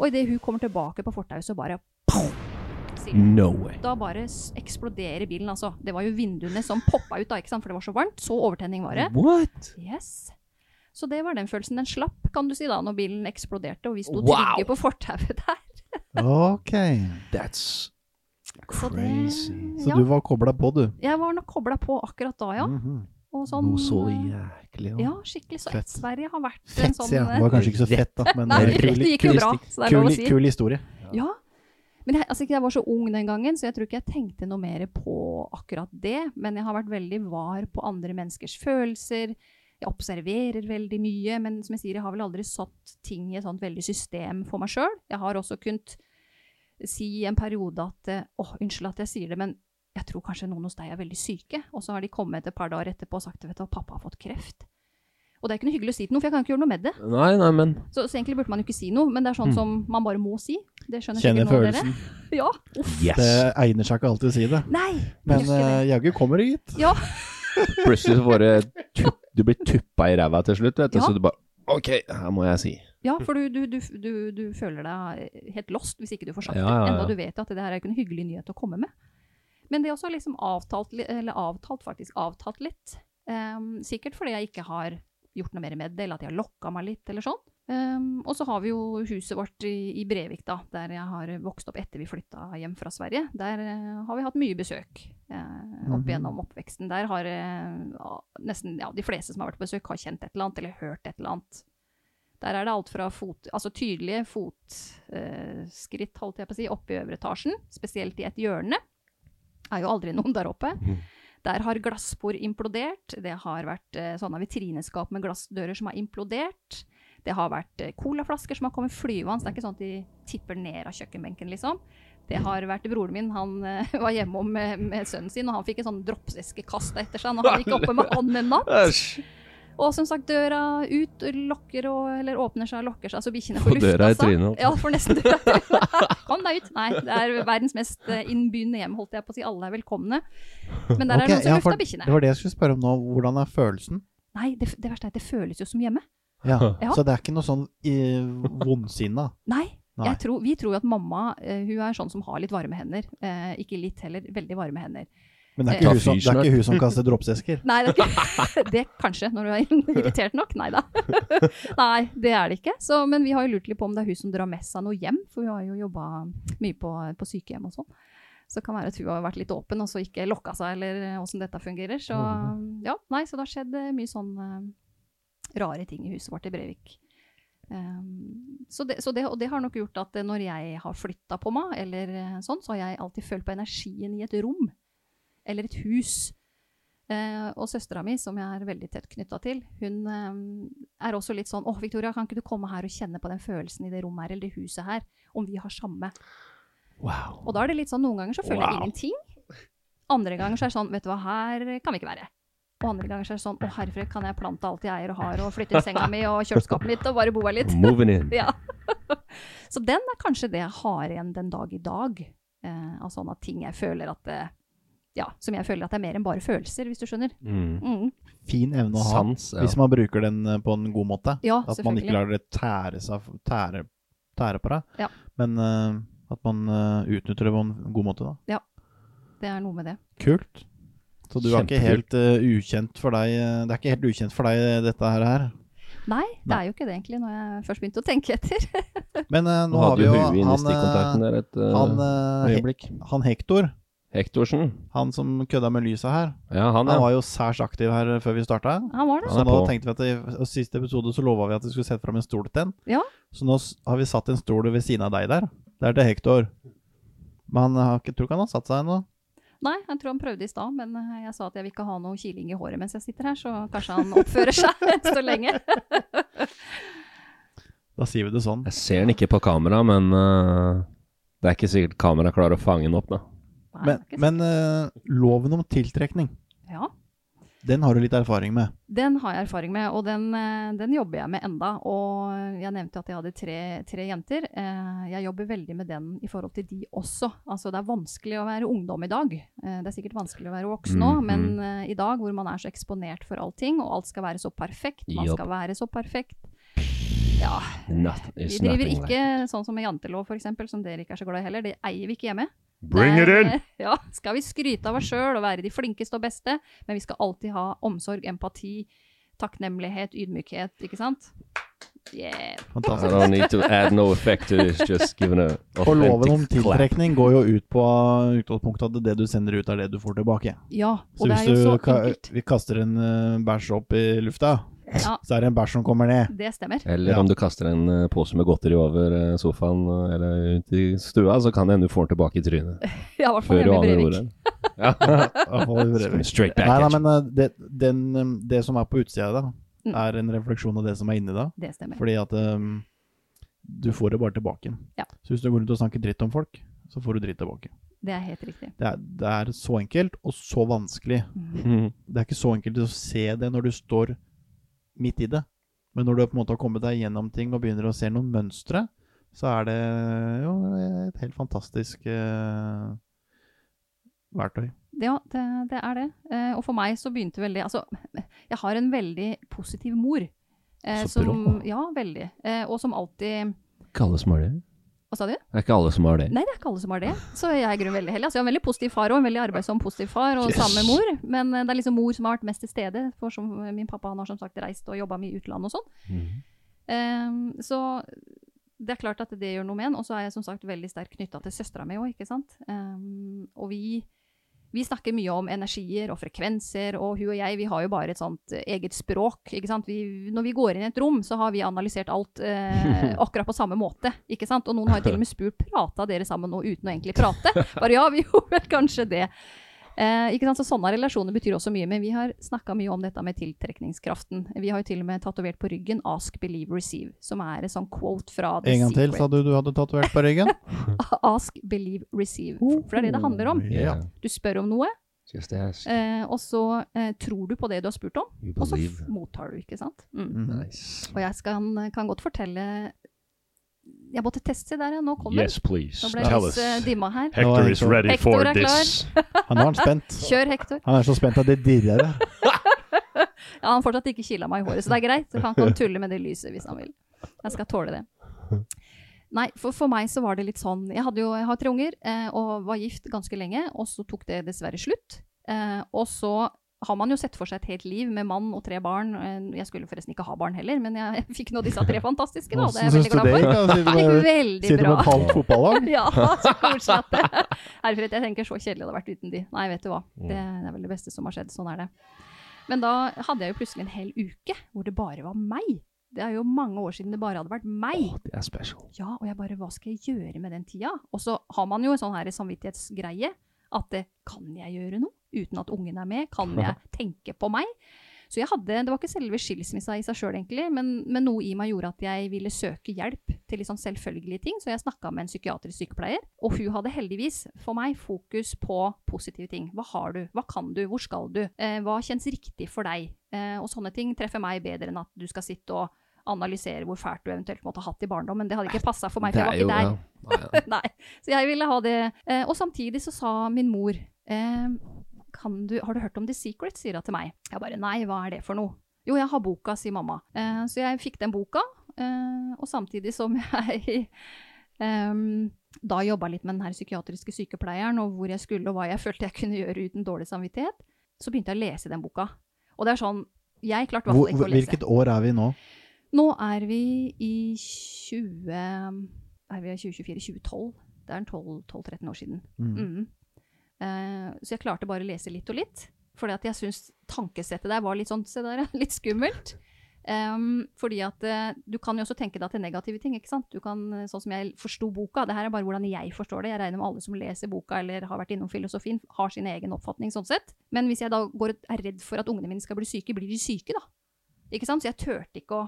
Speaker 3: Og idet hun kommer tilbake på fortauet, så bare pow! sier det.
Speaker 1: No way.
Speaker 3: Da bare s- eksploderer bilen, altså. Det var jo vinduene som poppa ut, da, ikke sant? for det var så varmt. Så overtenning var det.
Speaker 1: What?
Speaker 3: Yes. Så det var den følelsen. Den slapp, kan du si, da, når bilen eksploderte, og vi sto
Speaker 1: Wow.
Speaker 3: trygge på fortauet der.
Speaker 2: Ok.
Speaker 1: That's
Speaker 3: Så det-
Speaker 1: crazy.
Speaker 2: Så
Speaker 3: Ja.
Speaker 2: du var kobla på, du.
Speaker 3: Jeg var nok kobla på akkurat da, ja.
Speaker 2: Mhm.
Speaker 3: Og sånn,
Speaker 1: Noe så
Speaker 3: eh,
Speaker 1: jæklig.
Speaker 3: Ja, skikkelig. Så
Speaker 2: Fett.
Speaker 3: Sverige har vært en
Speaker 2: Fett,
Speaker 3: sånn
Speaker 2: sier jeg. Det
Speaker 3: eh,
Speaker 2: var kanskje ikke så fett, da. Men
Speaker 3: Nei,
Speaker 2: eh,
Speaker 3: det
Speaker 2: kul,
Speaker 3: gikk jo bra, så det er lov å
Speaker 2: kul,
Speaker 3: si.
Speaker 2: kul historie.
Speaker 3: Ja. Men jeg, altså, ikke- jeg var så ung den gangen, så jeg tror ikke jeg tenkte noe mer på akkurat det. Men jeg har vært veldig var på andre menneskers følelser. Jeg observerer veldig mye, men som jeg sier, jeg har vel aldri satt ting i et sånt veldig system for meg sjøl. Jeg har også kunnet si i en periode at eh, åh, unnskyld at jeg sier det, men jeg tror kanskje noen hos deg er veldig syke. Og så har de kommet et par dager etterpå og sagt vet du, hva, pappa har fått kreft. Og det er ikke noe hyggelig å si til noen, for jeg kan ikke gjøre noe med det.
Speaker 1: Nei, nei, men
Speaker 3: Så, så egentlig burde man jo ikke si noe, men det er sånn som man bare må si. Det skjønner sikkert noen
Speaker 2: Kjenner
Speaker 3: av dere.
Speaker 2: følelsen.
Speaker 3: Ja.
Speaker 2: Det
Speaker 1: Yes!
Speaker 2: egner seg ikke alltid å si det.
Speaker 3: Nei!
Speaker 2: Men
Speaker 3: gjør ikke
Speaker 2: eh, jaggu kommer det, gitt.
Speaker 3: Ja,
Speaker 1: *laughs* Plutselig så får du tupp, Du blir tuppa i ræva til slutt, vet du.
Speaker 3: Ja.
Speaker 1: Så du bare OK, her må jeg si.
Speaker 3: ja for du, du, du, du, du føler deg helt lost hvis ikke du får sagt
Speaker 1: Ja, ja,
Speaker 3: det.
Speaker 1: ja.
Speaker 3: Enda du vet at det her er ikke en hyggelig nyhet å komme med. Men det er også liksom avtalt, li- eller avtalt faktisk, avtatt litt. Ehm, sikkert fordi jeg ikke har gjort noe mer med det, eller at jeg har lokka meg litt, eller sånn. Ehm, og så har vi jo huset vårt i, i Brevik, da, der jeg har vokst opp etter vi flytta hjem fra Sverige. Der eh, har vi hatt mye besøk eh, opp gjennom oppveksten. Der har eh, ja, nesten ja, de fleste som har vært på besøk, har kjent et eller annet, eller hørt et eller annet. Der er det alt fra fot, altså tydelige fotskritt, holdt jeg på å si, oppe i øvre etasjen, spesielt i et hjørne. Er jo aldri noen der oppe. Der har glassbord implodert. Det har vært eh, sånne vitrineskap med glassdører som har implodert. Det har vært eh, colaflasker som har kommet flyvende. så Det er ikke sånn at de tipper ned av kjøkkenbenken, liksom. Det har vært broren min. Han eh, var hjemme om med, med sønnen sin, og han fikk en sånn dropseske kasta etter seg når han gikk oppe med han en natt.
Speaker 1: Æsj!
Speaker 3: Og som sagt, døra ut lokker og, eller åpner seg, lokker seg, så bikkjene
Speaker 1: Får
Speaker 3: får lufta
Speaker 1: døra i
Speaker 3: seg.
Speaker 1: trynet, altså.
Speaker 3: Ja, får nesten døra i trynet. Kom deg ut! Nei, det er verdens mest eh, innbydende hjem, holdt jeg på å si. Alle er velkomne. Men der er det
Speaker 2: Ok,
Speaker 3: noen som
Speaker 2: ja, for
Speaker 3: lufter
Speaker 2: Det
Speaker 3: bikkjene.
Speaker 2: var det jeg skulle spørre om nå. Hvordan er følelsen?
Speaker 3: Nei, det, det verste er at det føles jo som hjemme.
Speaker 2: Ja.
Speaker 3: Ja.
Speaker 2: Så det er ikke noe sånn eh, vondsinna.
Speaker 3: Nei.
Speaker 2: Nei.
Speaker 3: Jeg tror, vi tror jo at mamma eh, hun er sånn som har litt varme hender. Eh, ikke litt heller, veldig varme hender.
Speaker 2: Men det er
Speaker 1: Ta
Speaker 2: ikke hun som,
Speaker 1: fyr
Speaker 2: det er
Speaker 1: snart.
Speaker 2: ikke hun som kaster dråpesesker.
Speaker 3: Nei, det, er ikke, *laughs* det kanskje, når du er *laughs* irritert nok. Nei da. Nei, det er det ikke. Så, men vi har jo lurt litt på om det er hun som drar med seg noe hjem, for hun har jo jobba mye på, på sykehjem og sånn. Så det kan være at hun har vært litt åpen og så ikke lokka seg, eller åssen dette fungerer. Så ja, nei, så det har skjedd eh, mye sånn eh, rare ting i huset vårt i Brevik. Ehm, så det, så det, og det har nok gjort at eh, når jeg har flytta på meg, eller eh, sånn, så har jeg alltid følt på energien i et rom eller et hus. Eh, og søstera mi, som jeg er veldig tett knytta til, hun eh, er også litt sånn 'Å, Victoria, kan ikke du komme her og kjenne på den følelsen i det rommet her, eller det huset her, om vi har samme?'
Speaker 1: *laughs* Wow.
Speaker 3: Og da er det litt sånn noen ganger så føler jeg
Speaker 1: Wow.
Speaker 3: ingenting. Andre ganger så er det sånn 'Vet du hva, her kan vi ikke være'. Og andre ganger så er det sånn Å, herfra kan jeg plante alt jeg eier og har, og flytte senga mi og kjøleskapet mitt og bare bo her litt.
Speaker 1: Moving
Speaker 2: *laughs*
Speaker 1: in.
Speaker 3: *laughs* Ja. Så den er kanskje det jeg har igjen den dag i dag. Eh, av sånne ting jeg føler at det, Ja, som jeg føler at det er mer enn bare følelser, hvis du skjønner.
Speaker 1: Mm.
Speaker 3: Mm.
Speaker 2: Fin evne å ha,
Speaker 1: Sans, ja.
Speaker 2: hvis man bruker den eh, på en god måte.
Speaker 3: Ja,
Speaker 2: At man ikke
Speaker 3: selvfølgelig.
Speaker 2: lar det tære, seg, tære, tære på deg,
Speaker 3: Ja.
Speaker 2: men eh, at man eh, utnytter det på en god måte. da.
Speaker 3: Det er noe med det.
Speaker 2: Kult. Så du er ikke
Speaker 1: Kjempekult.
Speaker 2: helt eh, ukjent for deg eh, Det er ikke helt ukjent for deg, eh, dette her.
Speaker 1: *laughs*
Speaker 2: her.
Speaker 3: Nei, det
Speaker 2: Nei.
Speaker 3: er jo ikke det egentlig, når jeg først begynte å tenke *laughs* etter.
Speaker 2: Men eh,
Speaker 1: Nå
Speaker 2: nå har
Speaker 1: hadde
Speaker 2: vi
Speaker 1: jo
Speaker 2: jo
Speaker 1: huet inne i
Speaker 2: han,
Speaker 1: stikkontakten
Speaker 2: eh,
Speaker 1: der et eh,
Speaker 2: han, eh, He-
Speaker 1: øyeblikk.
Speaker 2: han Hector,
Speaker 1: Hektorsen.
Speaker 2: han som kødda med lyset her,
Speaker 1: Ja, han,
Speaker 2: han
Speaker 1: ja.
Speaker 2: var jo særs aktiv her eh, før vi starta.
Speaker 3: Han var det.
Speaker 1: Han
Speaker 2: Så
Speaker 1: er
Speaker 2: nå
Speaker 1: på.
Speaker 2: tenkte vi at i og siste episode så lova vi at vi skulle sette fram en stol til den.
Speaker 3: Ja.
Speaker 2: Så nå s- har vi satt en stol ved siden av deg der. Det er til Hector. Men han har ikke, tror ikke han har satt seg ennå.
Speaker 3: Nei, jeg tror han prøvde i stad, men eh, jeg sa at jeg vil ikke ha noe kiling i håret mens jeg sitter her, så kanskje han oppfører seg *laughs* så lenge.
Speaker 2: Da sier vi det sånn.
Speaker 1: Jeg ser den ikke på kamera, men eh, det er ikke sikkert kameraet klarer å fange den opp, da.
Speaker 3: Nei,
Speaker 2: Men,
Speaker 3: det er ikke
Speaker 2: men eh, loven om tiltrekning,
Speaker 3: sant. ja.
Speaker 2: den har du litt erfaring med.
Speaker 3: Den har jeg erfaring med, og den, eh, den jobber jeg med enda. Og jeg nevnte jo at jeg hadde tre, tre jenter. Eh, Jeg jobber veldig med den i forhold til de også. Altså, det er vanskelig å være ungdom i dag. Eh, Det er sikkert vanskelig å være voksen òg,
Speaker 1: Mhm.
Speaker 3: men eh, i dag hvor man er så eksponert for allting, og alt skal være så perfekt, man
Speaker 1: Jobb.
Speaker 3: skal være så perfekt Ja.
Speaker 1: Not,
Speaker 3: Vi
Speaker 1: it's
Speaker 3: driver
Speaker 1: nothing like-
Speaker 3: ikke sånn som med jantelov, f.eks., som dere ikke er så glad i heller. Det eier vi ikke hjemme.
Speaker 1: Bring it
Speaker 3: Der,
Speaker 1: in!
Speaker 3: eh, *laughs* Ja, skal vi skryte av oss sjøl og være de flinkeste og beste, men vi skal alltid ha omsorg, empati, takknemlighet, ydmykhet, ikke sant? Yeah.
Speaker 1: I
Speaker 2: Fantastisk.
Speaker 1: don't need to add no effect to this, just give it a
Speaker 2: Og loven om
Speaker 1: authentic clap.
Speaker 2: tiltrekning går jo ut på eh, utgangspunktet at det du sender ut, er det du får tilbake.
Speaker 3: Ja,
Speaker 2: Så
Speaker 3: og det
Speaker 2: hvis
Speaker 3: er jo så
Speaker 2: du ka
Speaker 3: enkelt.
Speaker 2: vi kaster en eh, bæsj opp i lufta,
Speaker 3: Ja.
Speaker 2: så er det en bæsj som kommer ned.
Speaker 3: Det stemmer.
Speaker 1: Eller om du kaster en eh, pose med godteri over eh, sofaen eh, eller ut i stua, så kan det hende du får den tilbake i trynet.
Speaker 3: *laughs* Ja, i hvert fall
Speaker 1: Før du
Speaker 3: hjemme i
Speaker 1: aner
Speaker 3: Brevik.
Speaker 1: ordet. *laughs* Ja.
Speaker 2: I hvert fall i Brevik.
Speaker 1: Straight back
Speaker 2: Nei, nei,
Speaker 1: at you.
Speaker 2: men eh, det, den, eh, det som er på utsida da,
Speaker 3: Mm.
Speaker 2: er en refleksjon av det som er inni da.
Speaker 3: Det stemmer.
Speaker 2: Fordi at eh, du får det bare tilbake.
Speaker 3: Ja.
Speaker 2: Så hvis du går rundt og snakker dritt om folk, så får du dritt tilbake.
Speaker 3: Det er helt riktig. Mm.
Speaker 2: Det er, det er så enkelt, og så vanskelig.
Speaker 1: Mhm.
Speaker 2: Det er ikke så enkelt å se det når du står midt i det. Men når du på en måte har kommet deg gjennom ting og begynner å se noen mønstre, så er det jo et helt fantastisk eh, verktøy.
Speaker 3: Ja, det, det er det. Eh, og for meg så begynte vel det Altså, jeg har en veldig positiv mor. eh,
Speaker 1: Så bra.
Speaker 3: som, ja, veldig. Eh, og som alltid
Speaker 1: Ikke alle som har det.
Speaker 3: Hva sa du?
Speaker 1: Det er ikke alle som har det.
Speaker 3: Nei, det er ikke alle som har det. Så jeg er i grunnen veldig heldig. Altså, jeg har en veldig positiv far og en veldig arbeidsom positiv far, og
Speaker 1: Yes.
Speaker 3: samme mor. Men eh, det er liksom mor som har vært mest til stede. For som, min pappa han har som sagt reist og jobba mye i utlandet og sånn.
Speaker 1: Mhm.
Speaker 3: Ehm, så det er klart at det gjør noe med en. Og så er jeg som sagt veldig sterkt knytta til søstera mi òg, ikke sant. Ehm, og vi, vi snakker mye om energier og frekvenser, og hun og jeg vi har jo bare et sånt eh, eget språk. ikke sant? Vi, når vi går inn i et rom, så har vi analysert alt
Speaker 2: *laughs*
Speaker 3: eh, akkurat på samme måte. ikke sant? Og noen har jo til og med spurt prata dere sammen nå uten å egentlig
Speaker 2: *laughs*
Speaker 3: prate. Bare ja, vi gjorde vel kanskje det. Eh, ikke sant? Så Sånne relasjoner betyr også mye, men vi har snakka mye om dette med tiltrekningskraften. Vi har jo til og med tatovert på ryggen 'Ask, believe, receive', som er et sånn quote fra The
Speaker 2: En gang til
Speaker 3: Secret.
Speaker 2: sa du du hadde tatovert
Speaker 3: *laughs*
Speaker 2: på ryggen.
Speaker 3: Ask, believe, receive. For det er det det handler om.
Speaker 2: Ja.
Speaker 1: Yeah.
Speaker 3: Du spør om noe,
Speaker 1: Just ask.
Speaker 3: eh, og så eh, tror du på det du har spurt om,
Speaker 1: You
Speaker 3: og så f
Speaker 1: believe.
Speaker 3: mottar du, ikke sant? Mm.
Speaker 2: Mhm.
Speaker 1: Nice.
Speaker 3: Og jeg skal, kan godt fortelle Jeg måtte teste der, jeg. Nå kommer
Speaker 4: Yes, please.
Speaker 3: Nå ble
Speaker 4: Tell
Speaker 3: jeg
Speaker 4: us.
Speaker 3: litt eh, dimma her.
Speaker 2: Nå
Speaker 4: Hector
Speaker 2: er
Speaker 4: is
Speaker 2: Hector-
Speaker 4: ready
Speaker 3: Hector
Speaker 4: for
Speaker 3: er
Speaker 4: this.
Speaker 2: Ja, nå er han spent.
Speaker 3: *laughs* Kjør, Hector.
Speaker 2: Han er så spent at det dirrer. der.
Speaker 3: Ja, han har fortsatt ikke kila meg i håret, så det er greit. Så han kan tulle med det lyset hvis han vil. Jeg skal tåle det. Nei, for, for meg så var det litt sånn Jeg, hadde jo, jeg har tre unger eh, og var gift ganske lenge, og så tok det dessverre slutt. Eh, og så har man jo sett for seg et helt liv med mann og tre barn. Eh, Jeg skulle forresten ikke ha barn heller, men jeg fikk nå disse tre fantastiske, da. og Det er
Speaker 2: Hvordan
Speaker 3: jeg
Speaker 2: syns
Speaker 3: veldig glad for. Det gikk
Speaker 2: du det gikk? da? Sitter du med-
Speaker 3: veldig
Speaker 2: Sitter du
Speaker 3: bra.
Speaker 2: med et halvt fotballag?
Speaker 3: *laughs* Ja, så koselig at det Herfred, jeg tenker så kjedelig det hadde vært uten de. Nei, vet du hva. Det er vel det beste som har skjedd. Sånn er det. Men da hadde jeg jo plutselig en hel uke hvor det bare var meg. Det er jo mange år siden det bare hadde vært meg.
Speaker 1: Det er special.
Speaker 3: Ja, og jeg bare Hva skal jeg gjøre med den tida? Og så har man jo en sånn her samvittighetsgreie at eh, kan jeg gjøre noe uten at ungen er med? Kan jeg tenke på meg? Så jeg hadde, det var ikke selve skilsmissa i seg sjøl, egentlig, men, men noe i meg gjorde at jeg ville søke hjelp til litt sånn selvfølgelige ting. Så jeg snakka med en psykiatrisk sykepleier, og hun hadde heldigvis for meg fokus på positive ting. Hva har du? Hva kan du? Hvor skal du? Eh, hva kjennes riktig for deg? Eh, og sånne ting treffer meg bedre enn at du skal sitte og analysere hvor fælt du eventuelt måtte ha hatt i barndommen. Det hadde ikke passa for meg, for jeg var ikke der.
Speaker 1: ja.
Speaker 3: *laughs* Nei, så jeg ville ha det. Eh, og samtidig så sa min mor eh, kan du, Har du hørt om The Secret? sier hun til meg. Jeg bare nei, hva er det for noe? Jo, jeg har boka, sier mamma. Eh, så jeg fikk den boka, eh, og samtidig som jeg *laughs* em, da jobba litt med den her psykiatriske sykepleieren, og hvor jeg skulle, og hva jeg følte jeg kunne gjøre uten dårlig samvittighet, så begynte jeg å lese den boka. Og det er sånn Jeg klarte i hvert *laughs*
Speaker 2: Hvor,
Speaker 3: fall ikke å lese.
Speaker 2: hvilket år er vi nå?
Speaker 3: Nå er vi i 20... Er vi i 2024? 2012? Det er en 12 12-13 år siden.
Speaker 2: Mm.
Speaker 3: Mm. Eh, så jeg klarte bare å lese litt og litt. Fordi at jeg syns tankesettet der var litt sånn, se der, ja, *laughs* litt skummelt. Em, fordi at eh, du kan jo også tenke deg til negative ting, ikke sant. Du kan, eh, sånn som jeg forsto boka, det her er bare hvordan jeg forstår det. Jeg regner med alle som leser boka eller har vært innom filosofien, har sin egen oppfatning sånn sett. Men hvis jeg da går, og er redd for at ungene mine skal bli syke, blir de syke da? Ikke sant? Så jeg turte ikke å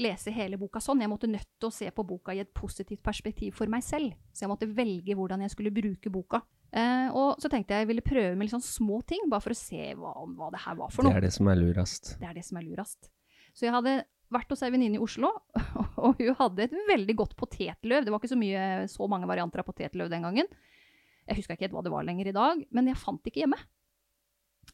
Speaker 3: lese hele boka sånn. Jeg måtte nødt til å se på boka i et positivt perspektiv for meg selv. Så jeg måtte velge hvordan jeg skulle bruke boka. Eh, og så tenkte jeg jeg ville prøve med litt sånn små ting, bare for å se hva, hva det her var for
Speaker 1: Det
Speaker 3: noe.
Speaker 1: er det som er lurest.
Speaker 3: Det er det som er lurast. Så jeg hadde vært hos ei venninne i Oslo, *laughs* og hun hadde et veldig godt potetløv. Det var ikke så, mye, så mange varianter av potetløv den gangen. Jeg huska ikke helt hva det var lenger i dag, men jeg fant det ikke hjemme.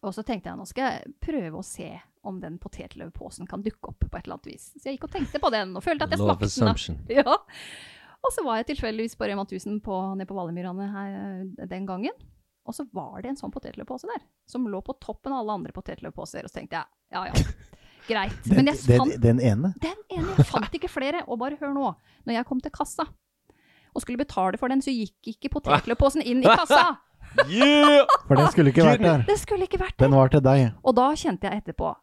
Speaker 3: Og så tenkte jeg nå skal jeg prøve å se om den potetløvposen kan dukke opp på et eller annet vis. Så jeg gikk og tenkte på den, og følte at jeg
Speaker 1: Law of
Speaker 3: smakte den. da.
Speaker 1: assumption.
Speaker 3: *laughs* Ja. Og så var jeg tilfeldigvis på Rema 1000 på, nede på Valemyrane her eh, den gangen. Og så var det en sånn potetløvpose der, som lå på toppen av alle andre potetløvposer. Og så tenkte jeg, ja ja, greit. Men jeg fant
Speaker 2: den ene?
Speaker 3: den ene, jeg fant ikke flere. Og bare hør nå, når jeg kom til kassa og skulle betale for den, så gikk ikke potetløvposen inn i kassa!
Speaker 2: For den skulle ikke vært der.
Speaker 3: Det skulle ikke vært
Speaker 2: Den
Speaker 3: der.
Speaker 2: var til deg.
Speaker 3: Og da kjente jeg etterpå,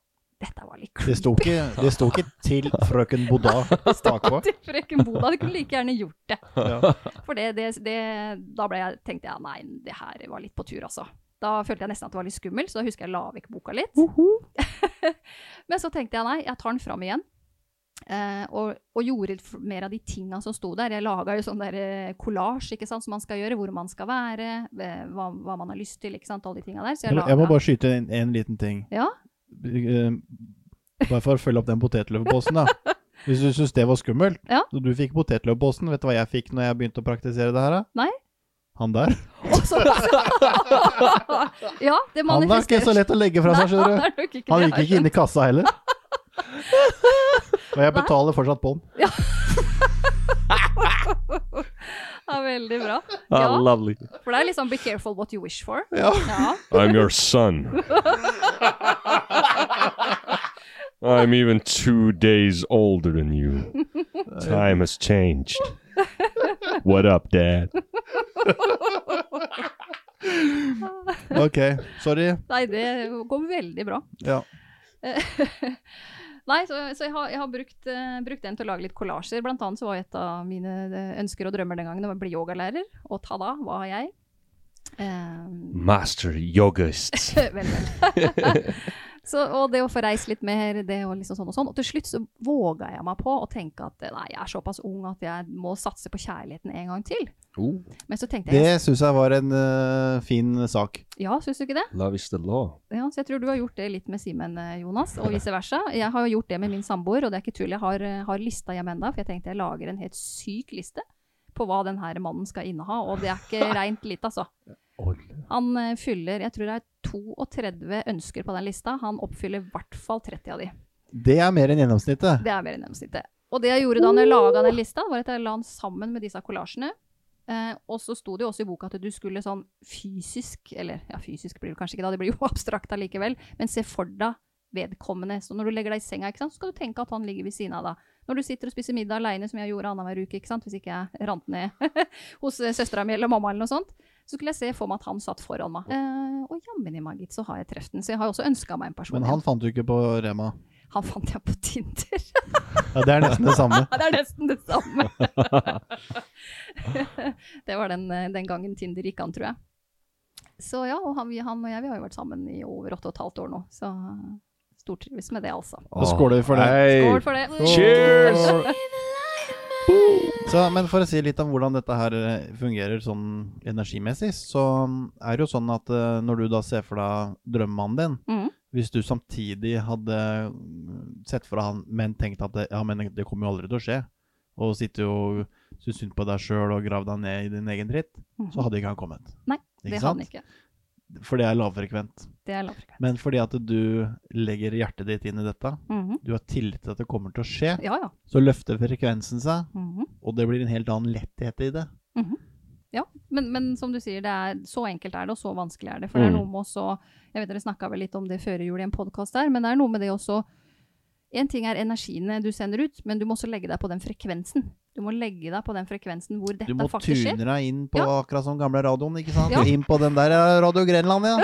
Speaker 3: dette var litt
Speaker 2: Det sto ikke, det sto ikke 'til frøken Bodal'
Speaker 3: *laughs*
Speaker 2: bakpå.
Speaker 3: til frøken Bodal. Du kunne like gjerne gjort det.
Speaker 2: Ja.
Speaker 3: For det, det, det, da ble jeg, tenkte jeg nei, det her var litt på tur, altså. Da følte jeg nesten at det var litt skummelt, så da husker jeg la vekk boka litt. *laughs* Men så tenkte jeg nei, jeg tar den fram igjen. Eh, og, og gjorde f- mer av de tinga som sto der. Jeg laga jo sånn der eh, collage, ikke sant, som man skal gjøre. Hvor man skal være, eh, hva, hva man har lyst til, ikke sant. Alle de tinga der. Så jeg
Speaker 2: Jeg, må- jeg må
Speaker 3: laga
Speaker 2: bare skyte en, en liten ting.
Speaker 3: Ja. *laughs*
Speaker 2: Eh, Bare for å følge opp den potetløvposen,
Speaker 3: *laughs*
Speaker 2: da. Hvis du syns det var skummelt,
Speaker 3: Ja.
Speaker 2: så du fikk potetløvposen, vet du hva jeg fikk når jeg begynte å praktisere det her? da?
Speaker 3: Nei.
Speaker 2: Han der.
Speaker 3: Og
Speaker 2: *laughs*
Speaker 3: så- *laughs* Ja, det
Speaker 2: Han var ikke
Speaker 3: manifesterer
Speaker 2: så lett å legge fra seg,
Speaker 3: *laughs*
Speaker 2: skjønner du. Han gikk ikke inn i kassa heller. Og jeg betaler fortsatt på den.
Speaker 3: *laughs* Ja, veldig bra.
Speaker 1: Ah,
Speaker 3: Ja,
Speaker 1: lovely.
Speaker 3: for det er liksom 'be careful what you wish for'.
Speaker 2: Ja.
Speaker 3: Ja.
Speaker 4: I'm your son. I'm even two days older than
Speaker 3: *laughs*
Speaker 4: you. Time has changed. What up, Dad?
Speaker 2: Ok, sorry.
Speaker 3: Nei, det går veldig bra.
Speaker 2: Ja.
Speaker 3: *laughs* Nei, så, så jeg har, jeg har brukt, eh, brukt den til å lage litt kollasjer. Blant annet så var et av mine eh, ønsker og drømmer den gangen å bli yogalærer. Og ta-da, var jeg. Eh, *laughs*
Speaker 4: Master *laughs* yogist.
Speaker 3: vel, vel. *laughs* så, og det å få reist litt mer, det og liksom sånn og sånn. Og til slutt så våga jeg meg på å tenke at eh, nei, jeg er såpass ung at jeg må satse på kjærligheten en gang til.
Speaker 1: Oh,
Speaker 3: Men så tenkte jeg
Speaker 2: Det syns jeg var en eh, fin sak.
Speaker 3: Ja, syns du ikke det?
Speaker 1: love is the law.
Speaker 3: Ja, så jeg tror du har gjort det litt med Simen, eh, Jonas, og vice versa. Jeg har jo gjort det med min samboer, og det er ikke tull. Jeg har, eh, har lista hjemme enda, for jeg tenkte jeg lager en helt syk liste på hva den her mannen skal inneha, og det er ikke rent litt, altså. Han eh, fyller, jeg tror det er 32 ønsker på den lista. Han oppfyller i hvert fall 30 av de.
Speaker 2: Det er mer enn gjennomsnittet.
Speaker 3: Det er mer enn gjennomsnittet. Og det jeg gjorde da når jeg laga den lista, var at jeg la den sammen med disse kollasjene. Eh, og så sto det jo også i boka at du skulle sånn fysisk Eller ja, fysisk blir det kanskje ikke da, det blir jo *laughs* abstrakt allikevel. Men se for deg vedkommende. Så når du legger deg i senga, ikke sant, så skal du tenke at han ligger ved siden av deg. Når du sitter og spiser middag aleine, som jeg gjorde annenhver uke, ikke sant, hvis ikke jeg rant ned *laughs* hos eh, søstera mi eller mamma eller noe sånt, så skulle jeg se for meg at han satt foran meg. Eh, og jammen i meg, gitt, så har jeg truffet den. Så jeg har jo også ønska meg en person.
Speaker 2: Men han fant du ikke på Rema.
Speaker 3: igjen. han fant jeg på Tinder.
Speaker 2: Ja, Det er nesten det *laughs* samme.
Speaker 3: Ja, det er nesten det samme. *laughs* det var den, eh, den gangen Tinder gikk an, tror jeg. Så ja, og han, vi- han og jeg vi har jo vært sammen i over åtte og et halvt år nå. Så stortrives med det, altså.
Speaker 2: Da skåler vi for det.
Speaker 3: Skål for det.
Speaker 4: Cheers!
Speaker 2: Så, men for å si litt om hvordan dette her eh, fungerer sånn energimessig, så er det jo sånn at eh, når du da ser for deg drømmemannen din,
Speaker 3: Mhm.
Speaker 2: hvis du samtidig hadde mm, sett for deg han, men tenkt at det, ja, men det kommer jo aldri til å skje, og sitter jo og synes synd på deg sjøl og grav deg ned i din egen dritt,
Speaker 3: Mhm.
Speaker 2: så hadde ikke han kommet.
Speaker 3: Nei,
Speaker 2: Ikke
Speaker 3: det
Speaker 2: sant?
Speaker 3: hadde den ikke.
Speaker 2: For det er lavfrekvent.
Speaker 3: Det er lavfrekvent.
Speaker 2: Men fordi at du legger hjertet ditt inn i dette,
Speaker 3: Mhm.
Speaker 2: du har tillit til at det kommer til å skje,
Speaker 3: Ja, ja.
Speaker 2: så løfter frekvensen seg,
Speaker 3: Mhm.
Speaker 2: og det blir en helt annen letthet i det.
Speaker 3: Ja, men, men som du sier, det er, så enkelt er det, og så vanskelig er det. For det
Speaker 2: Mm.
Speaker 3: er noe med også Jeg vet dere snakka vel litt om det før jul i en podkast der, men det er noe med det også En ting er energiene du sender ut, men du må også legge deg på den frekvensen. Du må legge deg på den frekvensen hvor
Speaker 2: Du
Speaker 3: dette
Speaker 2: må
Speaker 3: faktisk
Speaker 2: tune
Speaker 3: skjer.
Speaker 2: deg inn på akkurat som gamle radioen, ikke sant?
Speaker 3: Ja.
Speaker 2: Inn på den der ja, Radio
Speaker 3: *laughs*
Speaker 2: Grenland, ja.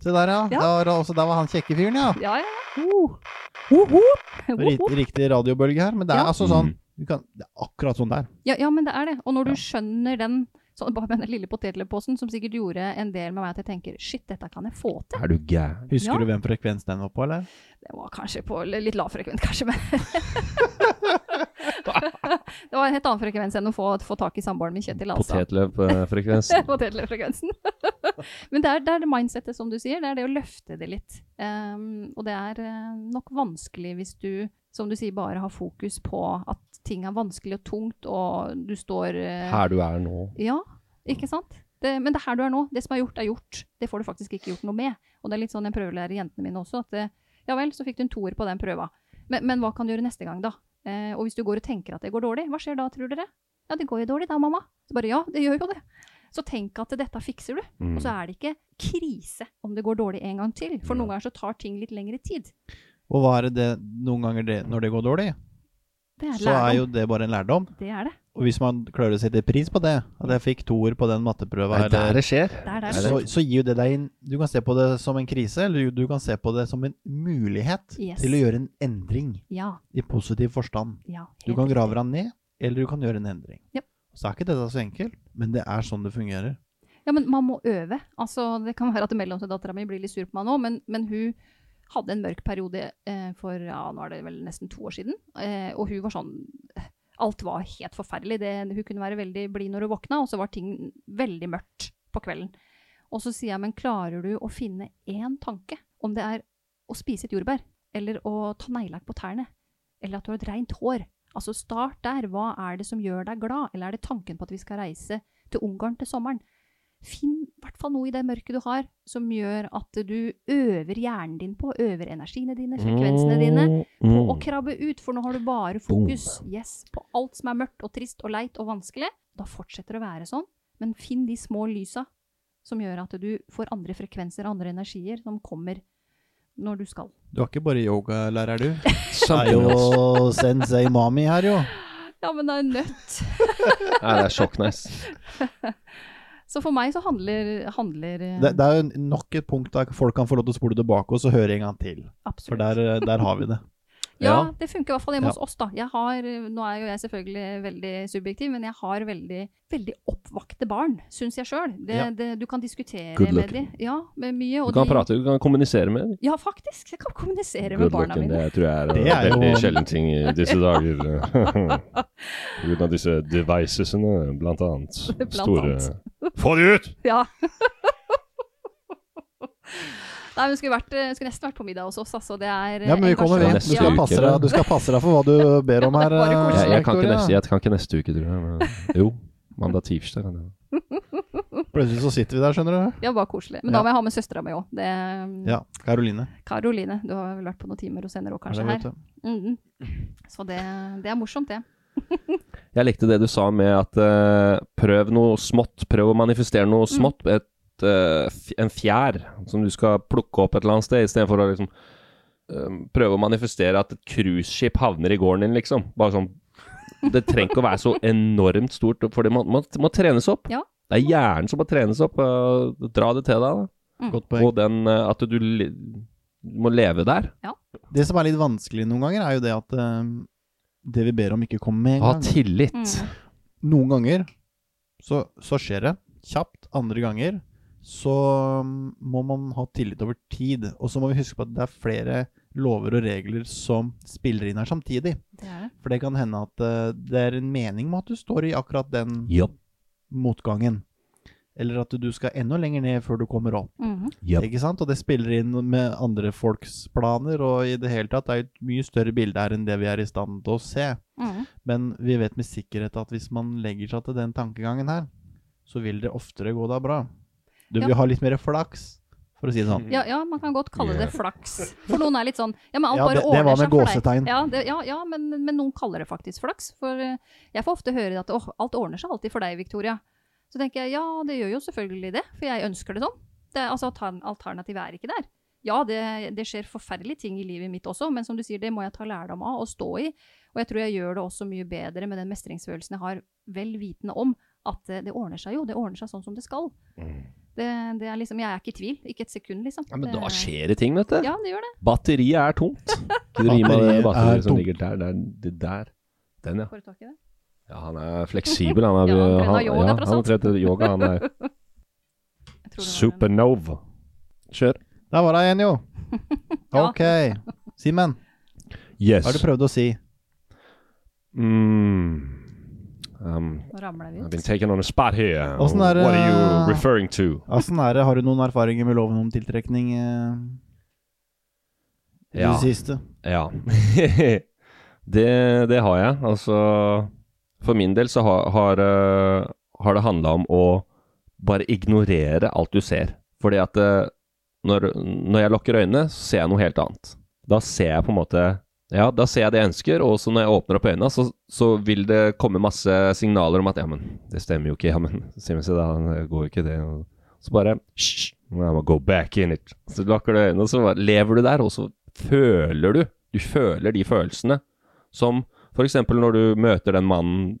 Speaker 2: Se der,
Speaker 3: Ja.
Speaker 2: ja. Der, også, der var han kjekke fyren, ja.
Speaker 3: Ja, ja.
Speaker 2: Rit, riktig radiobølge her. Men det er
Speaker 3: Ja.
Speaker 2: altså
Speaker 1: Mm.
Speaker 2: sånn du kan, Det er akkurat sånn der.
Speaker 3: ja, ja, men det er det. Og når du skjønner den sånn, bare med den lille potetleposen, som sikkert gjorde en del med meg at jeg tenker shit, dette kan jeg få til.
Speaker 1: Er du gæren?
Speaker 2: Husker
Speaker 3: Ja.
Speaker 2: du hvem frekvens den var på, eller?
Speaker 3: Det var kanskje på l- litt lav frekvens, kanskje, men Det var en helt annen frekvens enn å få, få tak i samboeren min, Kjetil. Altså. *laughs*
Speaker 1: eh, Potetløpfrekvens.
Speaker 3: Potetlefrekvensen. *laughs* Men det er, det er det mindsettet, som du sier. Det er det å løfte det litt. Ehm, og det er eh, nok vanskelig hvis du, som du sier, bare har fokus på at ting er vanskelig og tungt, og du står eh,
Speaker 1: Her du er nå.
Speaker 3: Ja, ikke sant? Det, men det er her du er nå. Det som er gjort, er gjort. Det får du faktisk ikke gjort noe med. Og det er litt sånn jeg prøver å lære jentene mine også, at eh, ja vel, så fikk du en toer på den prøva. Men, men hva kan du gjøre neste gang, da? Eh, og hvis du går og tenker at det går dårlig, hva skjer da, tror dere? Ja, det går jo dårlig da, mamma. Så bare ja, det gjør jo det. Så tenk at dette fikser du. Og
Speaker 2: Mm.
Speaker 3: så er det ikke krise om det går dårlig en gang til. For noen ganger så tar ting litt lengre tid.
Speaker 2: Og hva er det det noen ganger det, når det går dårlig?
Speaker 3: Det er
Speaker 2: Så er
Speaker 3: lærdom.
Speaker 2: jo det bare en lærdom.
Speaker 3: Det er det.
Speaker 2: Og hvis man klarer å sette pris på det, at jeg fikk toer på den matteprøva
Speaker 1: Det er der
Speaker 2: eller
Speaker 1: det skjer.
Speaker 3: Det er der.
Speaker 2: så, så gir jo det deg en Du kan se på det som en krise, eller du kan se på det som en mulighet
Speaker 3: Yes.
Speaker 2: til å gjøre en endring
Speaker 3: Ja.
Speaker 2: i positiv forstand.
Speaker 3: ja
Speaker 2: Du
Speaker 3: helt
Speaker 2: kan grave
Speaker 3: riktig.
Speaker 2: deg ned, eller du kan gjøre en endring.
Speaker 3: Japp.
Speaker 2: Så er ikke dette så enkelt, men det er sånn det fungerer.
Speaker 3: Ja, men man må øve. Altså, det kan være at mellomdattera mi blir litt sur på meg nå, men, men hun hadde en mørk periode eh, for ja, nå er det vel nesten to år siden. Eh, og hun var sånn eh, Alt var helt forferdelig. Det, hun kunne være veldig blid når hun våkna, og så var ting veldig mørkt på kvelden. Og så sier jeg, men klarer du å finne én tanke? Om det er å spise et jordbær, eller å ta neglelakk på tærne, eller at du har et rent hår. Altså, start der. Hva er det som gjør deg glad? Eller er det tanken på at vi skal reise til Ungarn til sommeren? Finn i hvert fall noe i det mørket du har, som gjør at du øver hjernen din på, øver energiene dine, frekvensene dine,
Speaker 1: Mm,
Speaker 3: på
Speaker 2: Mm.
Speaker 3: å krabbe ut. For nå har du bare fokus yes, på alt som er mørkt og trist og leit og vanskelig. Da fortsetter det å være sånn. Men finn de små lysa som gjør at du får andre frekvenser, andre energier, som kommer når du skal.
Speaker 2: Du er ikke bare yogalærer,
Speaker 3: *laughs*
Speaker 2: du. Det er
Speaker 1: Samtidig.
Speaker 2: jo sensei mami her, jo.
Speaker 3: Ja, men det er nødt.
Speaker 1: Nei, det er
Speaker 3: *laughs*
Speaker 1: sjokknice.
Speaker 3: Så for meg så handler, handler eh,
Speaker 2: Det, det er jo nok et punkt der folk kan få lov til å spole tilbake og så høre en gang til. For
Speaker 3: absolutt
Speaker 2: der, der har vi det.
Speaker 3: Ja,
Speaker 1: Ja.
Speaker 3: det funker i hvert fall hjemme
Speaker 2: Ja.
Speaker 3: hos oss, da. Jeg har, nå er jo jeg selvfølgelig veldig subjektiv, men jeg har veldig, veldig oppvakte barn, syns jeg sjøl.
Speaker 2: Ja.
Speaker 3: Du kan diskutere
Speaker 1: Good
Speaker 3: med
Speaker 1: luck.
Speaker 3: dem. Ja, med mye.
Speaker 1: Du
Speaker 3: og
Speaker 1: kan
Speaker 3: de-
Speaker 1: prate, du kan kommunisere med dem.
Speaker 3: Ja, faktisk. Jeg kan kommunisere med
Speaker 4: Good
Speaker 3: barna
Speaker 4: looking,
Speaker 3: mine.
Speaker 4: det tror jeg er
Speaker 1: eh,
Speaker 2: Det er
Speaker 4: en
Speaker 2: jo-
Speaker 4: veldig sjelden ting i disse dager.
Speaker 2: *laughs*
Speaker 4: På grunn av
Speaker 2: uh,
Speaker 4: disse devicesene, blant annet.
Speaker 3: *laughs* Blant
Speaker 4: Store
Speaker 3: annet.
Speaker 4: Få de ut!
Speaker 3: Ja. *laughs* Nei, men skulle, vært, eh, skulle nesten vært på middag hos oss, altså. Det er
Speaker 2: Ja, men vi kommer, vi.
Speaker 3: engasjement.
Speaker 2: Du skal passe deg, du skal passe deg for hva du ber om her. eh,
Speaker 3: Bare koselig.
Speaker 1: Jeg, jeg, kan ikke
Speaker 2: Victoria.
Speaker 1: neste, jeg kan ikke neste uke, tror jeg. Men, jo. Mandag-tirsdag kan jeg.
Speaker 2: Plutselig så sitter vi der, skjønner du.
Speaker 3: Ja, bare koselig. Men
Speaker 2: Ja.
Speaker 3: da må jeg ha med søstera mi òg.
Speaker 2: Ja, Karoline.
Speaker 3: Karoline, du har vel vært på noen timer hos henne òg,
Speaker 2: er
Speaker 3: kanskje,
Speaker 2: det, vet
Speaker 3: her.
Speaker 2: du.
Speaker 3: Mhm. Så det, det er morsomt, det.
Speaker 1: Jeg likte det du sa med at eh, prøv noe smått, prøv å manifestere
Speaker 3: Mm.
Speaker 1: noe smått. Et, eh, f- en fjær som du skal plukke opp et eller annet sted, istedenfor å liksom eh, prøve å manifestere at et cruiseskip havner i gården din, liksom. Bare sånn Det trenger ikke å være så
Speaker 3: *laughs*
Speaker 1: enormt stort, for det må, må, må trenes opp.
Speaker 3: Ja.
Speaker 1: Det er hjernen som må trenes opp. eh, dra det til deg, da.
Speaker 3: Mm.
Speaker 2: Godt poeng.
Speaker 1: Og den eh, at du li må leve der.
Speaker 2: Det som er litt vanskelig noen ganger, er jo det at eh, det vi ber om, ikke kommer med en
Speaker 1: Ha
Speaker 2: gang.
Speaker 1: tillit.
Speaker 2: *laughs*
Speaker 3: Mm.
Speaker 2: Noen ganger så, så skjer det kjapt, andre ganger så mm, må man ha tillit over tid. Og så må vi huske på at det er flere lover og regler som spiller inn her samtidig.
Speaker 3: Det er det.
Speaker 2: For det kan hende at eh, det er en mening med at du står i akkurat den
Speaker 1: Japp,
Speaker 2: motgangen. Eller at du skal enda lenger ned før du kommer opp.
Speaker 3: Mhm.
Speaker 1: japp.
Speaker 2: Ikke sant? Og det spiller inn med andre folks planer, og i det hele tatt det er et mye større bilde her enn det vi er i stand til å se.
Speaker 3: Mhm.
Speaker 2: Men vi vet med sikkerhet at hvis man legger seg til den tankegangen her, så vil det oftere gå da bra. Du
Speaker 3: Ja.
Speaker 2: vil ha litt mer flaks, for å si det
Speaker 3: *laughs*
Speaker 2: sånn.
Speaker 3: Ja, ja, man kan godt kalle det flaks. For noen er litt sånn Ja, men alt
Speaker 2: Ja,
Speaker 3: bare
Speaker 2: det- det var
Speaker 3: ordner seg
Speaker 2: med
Speaker 3: for
Speaker 2: gåsetegn.
Speaker 3: deg. Ja, det, ja, ja men, men noen kaller det faktisk flaks. For eh, jeg får ofte høre at åh, alt ordner seg alltid for deg, Victoria. Så tenker jeg ja, det gjør jo selvfølgelig det, for jeg ønsker det sånn. Det, er- altså, altern- Alternativet er ikke der. Ja, det, det skjer forferdelige ting i livet mitt også, men som du sier, det må jeg ta lærdom av og stå i. Og jeg tror jeg gjør det også mye bedre med den mestringsfølelsen jeg har, vel vitende om at eh, det ordner seg jo. Det ordner seg sånn som det skal. Det, det er liksom, Jeg er ikke i tvil. Ikke et sekund, liksom.
Speaker 1: Mm. Ja, men da
Speaker 3: Det-
Speaker 1: skjer det ting, vet du.
Speaker 3: Ja, det gjør det.
Speaker 1: Batteriet er tomt. Kan du gi meg det
Speaker 2: Batteriet er
Speaker 1: batteriet som
Speaker 2: tomt.
Speaker 1: ligger der? Der, det der. Den, ja.
Speaker 3: Får du tak i det?
Speaker 1: ja. Han er fleksibel. Han er,
Speaker 3: *laughs* Ja, han trener
Speaker 1: han,
Speaker 3: yoga,
Speaker 1: ja,
Speaker 3: tross
Speaker 1: han
Speaker 3: alt.
Speaker 1: trener yoga,
Speaker 3: *laughs*
Speaker 1: han er
Speaker 3: Jeg tror det var den.
Speaker 4: Supernova.
Speaker 1: Kjør.
Speaker 2: Der var det en, jo.
Speaker 3: Ja.
Speaker 2: Ok. Simen, hva har du
Speaker 4: Yes.
Speaker 2: prøvd å si?
Speaker 4: Mm. Um,
Speaker 3: Nå ramler vi
Speaker 4: I've
Speaker 3: ut.
Speaker 4: been taken on a spot here.
Speaker 2: Åssen er det-
Speaker 4: What are you referring to?
Speaker 2: Åssen er det, har du noen erfaringer med loven om tiltrekning eh, i
Speaker 1: Ja.
Speaker 2: det siste?
Speaker 1: Ja. *laughs* det, det har jeg. Altså For min del så har, har, eh, har det handla om å bare ignorere alt du ser. Fordi at eh, når, når jeg lukker øynene, så ser jeg noe helt annet. Da ser jeg på en måte Ja, da ser jeg det jeg ønsker, og så når jeg åpner opp øynene, så, så vil det komme masse signaler om at ja, men det stemmer jo ikke, ja, men *laughs* se, men se da, det eh, går jo ikke det. og- Så bare Hysj!
Speaker 4: I will go back in it.
Speaker 1: Så lukker du øynene, og så bare lever du der, og så føler du. Du føler de følelsene. Som f.eks. når du møter den mannen,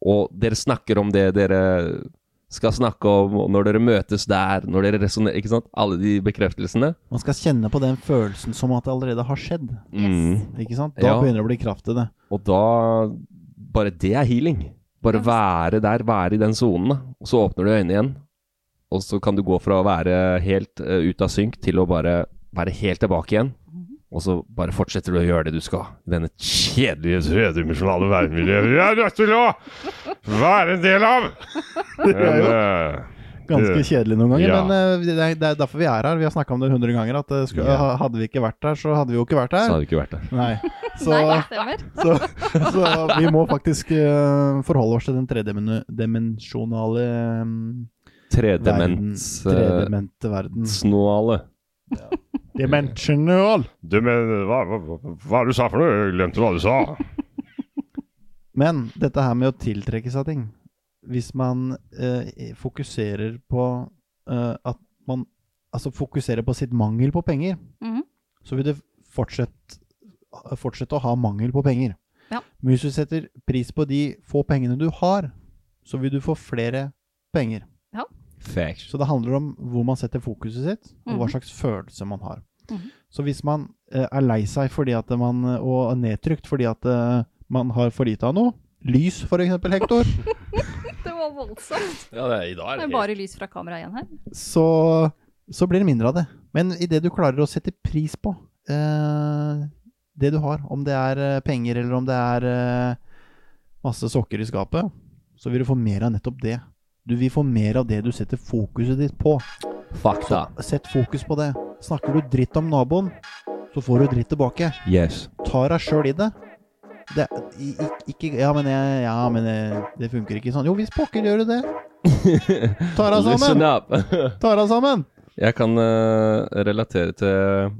Speaker 1: og dere snakker om det dere skal snakke om, og når dere møtes der, når dere resonnerer Ikke sant? Alle de bekreftelsene.
Speaker 2: Man skal kjenne på den følelsen som at det allerede har skjedd.
Speaker 1: Mm.
Speaker 2: Ikke sant? Da
Speaker 1: Ja.
Speaker 2: begynner det å bli kraft i det.
Speaker 1: Og da Bare det er healing. Bare være der, være i den sonen. da. Og så åpner du øynene igjen, og så kan du gå fra å være helt eh, ut av synk til å bare være helt tilbake igjen. Og så bare fortsetter du å gjøre det du skal. i Denne
Speaker 4: Kjedelige tredimensjonale verdensmiljøet vi er nødt til å være en del av! Men, eh,
Speaker 2: Ganske
Speaker 4: Det-
Speaker 2: kjedelig noen ganger,
Speaker 4: ja.
Speaker 2: men eh, det er, det er derfor vi er her. Vi har snakka om det 100 ganger. At eh, skulle,
Speaker 4: Ja. Sånn.
Speaker 2: ha- Hadde vi ikke vært her, så hadde vi jo ikke vært
Speaker 1: Så
Speaker 2: her.
Speaker 1: hadde vi ikke vært der.
Speaker 2: Nei.
Speaker 3: *laughs*
Speaker 2: Så,
Speaker 3: Nei, det stemmer.
Speaker 2: så, så vi må faktisk eh, forholde oss til den tredimensjonale um, verden.
Speaker 1: Tredements... eh,
Speaker 2: Tredemente verden.
Speaker 1: Snåle.
Speaker 2: Dimensional!
Speaker 4: du, men hva, hva, hva- hva du sa for noe? Jeg glemte hva du sa.
Speaker 2: *laughs* Men dette her med å tiltrekke seg ting Hvis man eh, fokuserer på eh, at man Altså fokuserer på sitt mangel på penger,
Speaker 3: Mhm.
Speaker 2: så vil det fortsette, fortsette å ha mangel på penger.
Speaker 3: Ja.
Speaker 2: Men hvis du setter pris på de få pengene du har, så vil du få flere penger.
Speaker 1: Facts.
Speaker 2: Så det handler om hvor man setter fokuset sitt, og hva
Speaker 3: Mhm.
Speaker 2: slags følelse man har.
Speaker 3: Mhm.
Speaker 2: Så hvis man eh, er lei seg fordi at man, og er nedtrykt fordi at eh, man har for lite av noe, lys for
Speaker 3: *laughs*
Speaker 2: eksempel, Hector,
Speaker 3: Det var voldsomt.
Speaker 1: Ja, det er, I dag
Speaker 3: Det er bare lys fra kameraet igjen her.
Speaker 2: så, så blir det mindre av det. Men i det du klarer å sette pris på eh, det du har, om det er eh, penger eller om det er eh, masse sokker i skapet, så vil du få mer av nettopp det. Du vil få mer av det du setter fokuset ditt på.
Speaker 1: Fakta.
Speaker 2: Sett fokus på det. Snakker du dritt om naboen, så får du dritt tilbake.
Speaker 1: Yes.
Speaker 2: Tar deg sjøl i det. det er- i, i- ikke, ja, men, jeg, ja, men eh, det funker ikke sånn. Jo, hvis pokker gjør du det.
Speaker 1: *laughs*
Speaker 2: Tar deg
Speaker 1: Listen
Speaker 2: sammen!
Speaker 1: up.
Speaker 2: Tar deg sammen!
Speaker 1: Jeg kan eh, relatere til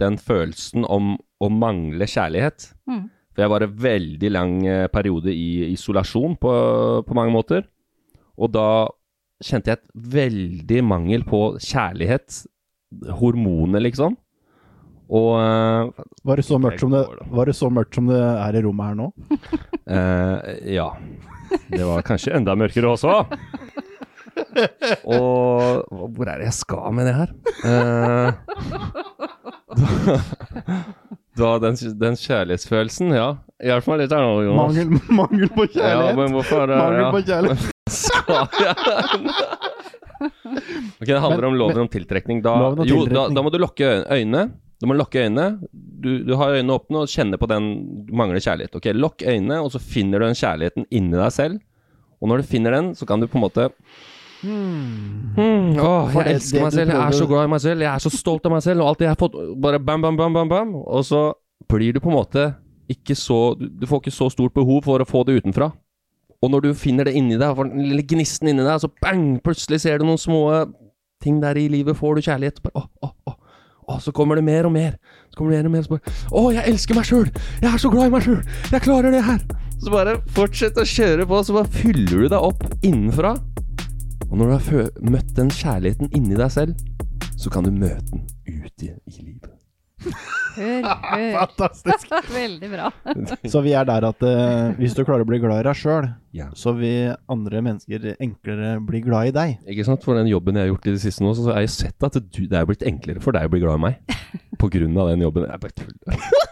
Speaker 1: den følelsen om å mangle kjærlighet.
Speaker 3: Mhm.
Speaker 1: For jeg var en veldig lang eh, periode i isolasjon på, på mange måter. Og da kjente jeg et veldig mangel på kjærlighet. Hormoner, liksom. Og eh,
Speaker 2: Var det så mørkt som det, var det, så mørkt som det er i rommet her nå?
Speaker 1: Eh, ja. Det var kanskje enda mørkere også. Og hva- hvor er det jeg skal med det her? Eh, da, da den, den kjærlighetsfølelsen, ja. Hjelp meg litt her nå, Jonas.
Speaker 2: Mangel, *laughs* mangel på kjærlighet!
Speaker 1: Ja, men hvorfor eh,
Speaker 2: mangel
Speaker 1: ja.
Speaker 2: på
Speaker 1: *laughs*
Speaker 2: kjærlighet!
Speaker 1: Skal jeg? Ok, det handler
Speaker 2: Men-
Speaker 1: om loven
Speaker 2: men-
Speaker 1: om tiltrekning. Da,
Speaker 2: Loven om
Speaker 1: jo, da,
Speaker 2: tiltrekning.
Speaker 1: da må du lukke øy- øynene. Du må lukke øynene. Du, du har øynene åpne og kjenner på den du mangler kjærlighet. Ok, Lukk øynene, og så finner du den kjærligheten inni deg selv. Og når du finner den, så kan du på en måte hmm, åh,
Speaker 2: For det-
Speaker 1: jeg elsker
Speaker 2: det du
Speaker 1: meg selv, jeg er
Speaker 2: prøver-
Speaker 1: så glad i meg selv, jeg er så stolt av meg selv, og alt det jeg har fått Bare bam, bam, bam, bam, bam. Og så blir du på en måte ikke så Du du får ikke så stort behov for å få det utenfra. Og når du finner det inni deg, og får den lille gnisten inni deg, så bang, plutselig ser du noen små ting der i livet, får du kjærlighet. Bare, åh, åh, åh. Åh, så kommer det mer og mer. Så kommer det mer og mer. Så bare, åh, jeg elsker meg sjøl! Jeg er så glad i meg sjøl! Jeg klarer det her! Så bare fortsett å kjøre på, så bare fyller du deg opp innenfra. Og når du har fø- møtt den kjærligheten inni deg selv, så kan du møte den ute i livet. *laughs*
Speaker 3: Hør, hør.
Speaker 2: Fantastisk.
Speaker 3: *laughs* Veldig bra.
Speaker 2: Så vi er der at eh, hvis du klarer å bli glad i deg sjøl,
Speaker 1: Ja.
Speaker 2: så vil andre mennesker enklere bli glad i deg.
Speaker 1: Ikke sant? For den jobben jeg har gjort i det siste nå, så har jeg sett at du, det er blitt enklere for deg å bli glad i meg. På grunn av den jobben. Jeg bare tuller. Det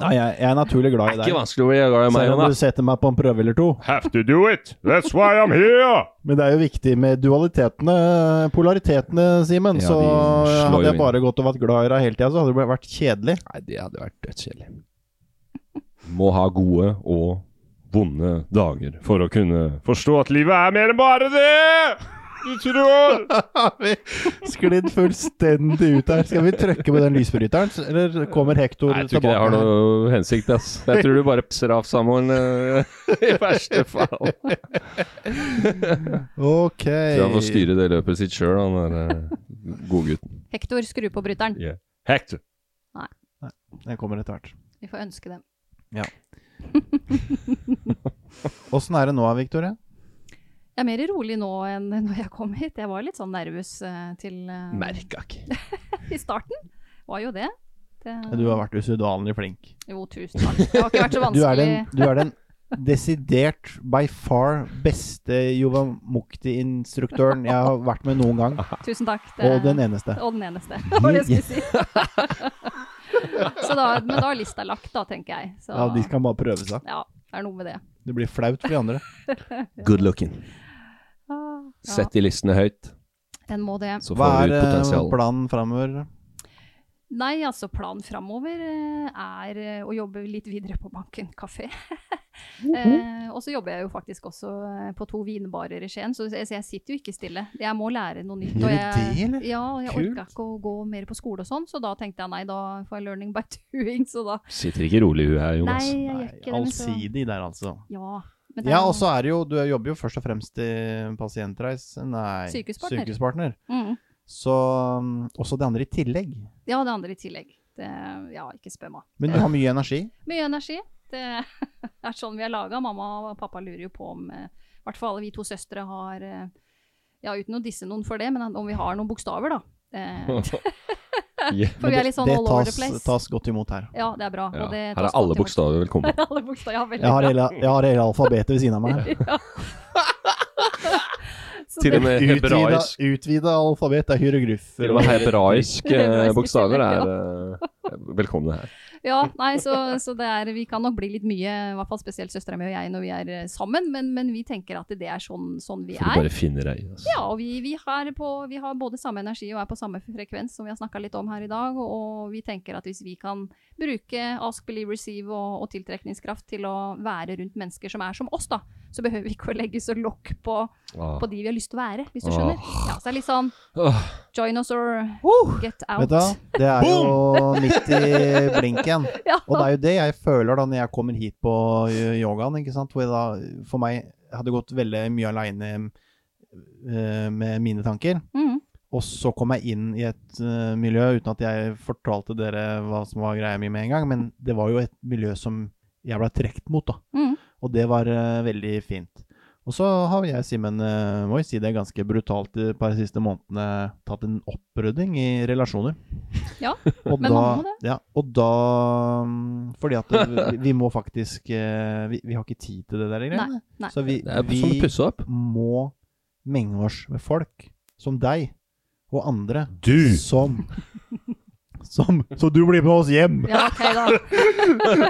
Speaker 2: Nei, jeg, jeg er naturlig glad i
Speaker 1: er
Speaker 2: deg.
Speaker 1: ikke vanskelig å bli glad i meg,
Speaker 2: Selv om du
Speaker 1: Jonas.
Speaker 2: setter meg på en prøve eller to.
Speaker 4: Have to do it. That's why I'm here.
Speaker 2: Men det er jo viktig med dualitetene, polaritetene, Simen.
Speaker 1: Ja,
Speaker 2: så
Speaker 1: de slår jo
Speaker 2: hadde jeg
Speaker 1: inn.
Speaker 2: bare gått og vært glad i deg hele tida, så hadde det bare vært kjedelig.
Speaker 1: Nei, det hadde vært dødskjedelig. *laughs* Må ha gode og
Speaker 4: Vonde dager for å kunne forstå at livet er mer enn bare det! Du
Speaker 1: *laughs*
Speaker 4: tror!
Speaker 2: Sklidd fullstendig ut her. Skal vi trykke på den lysbryteren, så- eller kommer Hector
Speaker 1: Nei, jeg tror ikke
Speaker 2: tilbake?
Speaker 1: det har
Speaker 2: her?
Speaker 1: noe hensikt, ass. Jeg tror du bare pser av samboeren eh, *laughs* i verste fall.
Speaker 2: Ok.
Speaker 1: Så han får styre det løpet sitt sjøl, han der eh, godgutten.
Speaker 3: Hector, skru på bryteren.
Speaker 4: Hector.
Speaker 2: Den kommer etter hvert.
Speaker 3: Vi får ønske dem.
Speaker 2: Åssen er det nå, Victoria?
Speaker 3: Jeg er mer rolig nå enn *laughs* når jeg kom hit. Jeg var litt sånn nervøs eh, til eh,
Speaker 1: Merka ikke.
Speaker 3: i starten. Var jo det. det
Speaker 2: Du har vært usedvanlig flink.
Speaker 3: Jo, tusen takk. Det har ikke vært så
Speaker 2: *laughs* Du er
Speaker 3: vanskelig.
Speaker 2: den, du er den desidert by far beste Jova Mukti-instruktøren jeg har vært med noen gang.
Speaker 3: Tusen takk. Det-
Speaker 2: Og den eneste.
Speaker 3: Og den eneste. *laughs* Det var det jeg skulle
Speaker 2: *laughs*
Speaker 3: si. så da, men da er lista lagt, da, tenker jeg. Så,
Speaker 2: Ja, De kan bare prøve seg.
Speaker 3: ja, det er noe med det.
Speaker 2: Det blir flaut for de andre.
Speaker 1: Good looking.
Speaker 3: Ah, ja,
Speaker 1: Sett de listene høyt,
Speaker 3: Den må det.
Speaker 1: så
Speaker 2: Hva
Speaker 1: får
Speaker 2: er
Speaker 1: du ut
Speaker 2: eh,
Speaker 1: potensial.
Speaker 2: planen framover?
Speaker 3: Nei, altså planen framover er eh, å jobbe litt videre på Banken kafé. *laughs* eh, og så jobber jeg jo faktisk også eh, på to vinbarer i Skien, så jeg, så jeg sitter jo ikke stille. Jeg må lære noe nytt.
Speaker 2: Gjør
Speaker 3: og
Speaker 2: du
Speaker 3: jeg,
Speaker 2: det, eller?
Speaker 3: Ja, og jeg
Speaker 2: Kult.
Speaker 3: orka ikke å gå mer på skole og sånn, så da tenkte jeg nei, da får jeg learning by *laughs* doing, så da
Speaker 1: Sitter ikke rolig i huet her,
Speaker 3: Nei,
Speaker 1: Jonas.
Speaker 3: jeg gjør ikke det. men så-
Speaker 2: Allsidig der, altså.
Speaker 3: Ja. altså. men det er
Speaker 2: Ja,
Speaker 3: jo-
Speaker 2: og så er det jo Du jobber jo først og fremst i Pasientreise Nei,
Speaker 3: Sykehuspartner.
Speaker 2: Sykehuspartner.
Speaker 3: Mm.
Speaker 2: Så mm, også det andre i tillegg.
Speaker 3: Ja, det andre i tillegg. Det, ja, ikke spør meg.
Speaker 2: Men du har mye energi.
Speaker 3: Mye energi. Det *laughs* er sånn vi er laga. Mamma og pappa lurer jo på om eh, i hvert fall vi to søstre har eh, Ja, uten å disse noen for det, men om vi har noen bokstaver, da. Eh, *laughs* *laughs* for vi er litt sånn
Speaker 2: det
Speaker 3: all over the
Speaker 2: tas,
Speaker 3: place.
Speaker 2: tas godt imot her.
Speaker 3: Ja, det er bra.
Speaker 1: Ja.
Speaker 3: Og det
Speaker 1: Her
Speaker 3: tas
Speaker 1: er alle
Speaker 3: godt imot.
Speaker 1: bokstaver velkommen.
Speaker 3: alle bokstaver, ja, veldig
Speaker 2: Jeg har
Speaker 3: bra.
Speaker 2: hele, jeg har hele alfabetet ved siden
Speaker 3: *laughs*
Speaker 2: av meg. *laughs*
Speaker 3: Så
Speaker 1: Til og
Speaker 3: det-
Speaker 1: med
Speaker 2: Utvida,
Speaker 1: hebraisk.
Speaker 2: utvida alfabet er
Speaker 1: Til
Speaker 2: hieroglyfer.
Speaker 1: og
Speaker 3: *laughs*
Speaker 1: med hebraiske
Speaker 3: Hebraiske
Speaker 1: eh, bokstaver
Speaker 3: tillegg,
Speaker 1: er eh, velkomne her.
Speaker 3: Ja, nei, så, så det er, vi kan nok bli litt mye, i hvert fall spesielt søstera mi og jeg, når vi er eh, sammen, men, men vi tenker at det er sånn, sånn vi
Speaker 1: For
Speaker 3: er.
Speaker 1: du bare finner deg i altså.
Speaker 3: Ja, og vi, vi, har på, vi har både samme energi og er på samme frekvens som vi har snakka litt om her i dag. Og, og vi tenker at hvis vi kan bruke ask, believe, receive og, og tiltrekningskraft til å være rundt mennesker som er som oss, da, så behøver vi ikke å legge så lokk på,
Speaker 1: Ah.
Speaker 3: på de vi har lyst til å være, hvis du skjønner. Ja, så det er litt sånn
Speaker 1: Åh,
Speaker 3: join us or get out.
Speaker 2: Vet du hva, det er jo midt i blinken.
Speaker 3: *laughs* Ja.
Speaker 2: Og det er jo det jeg føler da når jeg kommer hit på ø, yogaen, ikke sant. Hvor jeg da, for meg jeg hadde gått veldig mye aleine eh, med mine tanker.
Speaker 3: Mhm.
Speaker 2: Og så kom jeg inn i et ø, miljø uten at jeg fortalte dere hva som var greia mi med en gang, men det var jo et miljø som jeg ble trukket mot, da.
Speaker 3: Mhm.
Speaker 2: Og det var eh, veldig fint. Og så har jeg, Simen, eh, må jo si det ganske brutalt de par siste månedene, tatt en opprydding i relasjoner.
Speaker 3: *laughs* Ja,
Speaker 2: og
Speaker 3: men
Speaker 2: da,
Speaker 3: man må det.
Speaker 2: Ja, og da mm, Fordi at vi, vi må faktisk eh, vi, vi har ikke tid til det der greiene.
Speaker 3: nei.
Speaker 2: Så vi,
Speaker 1: Det er som å
Speaker 2: vi
Speaker 1: pusse opp.
Speaker 2: må menge oss med folk som deg og andre
Speaker 4: Du!
Speaker 2: som som, så du blir med oss hjem!
Speaker 3: Ja, ok da.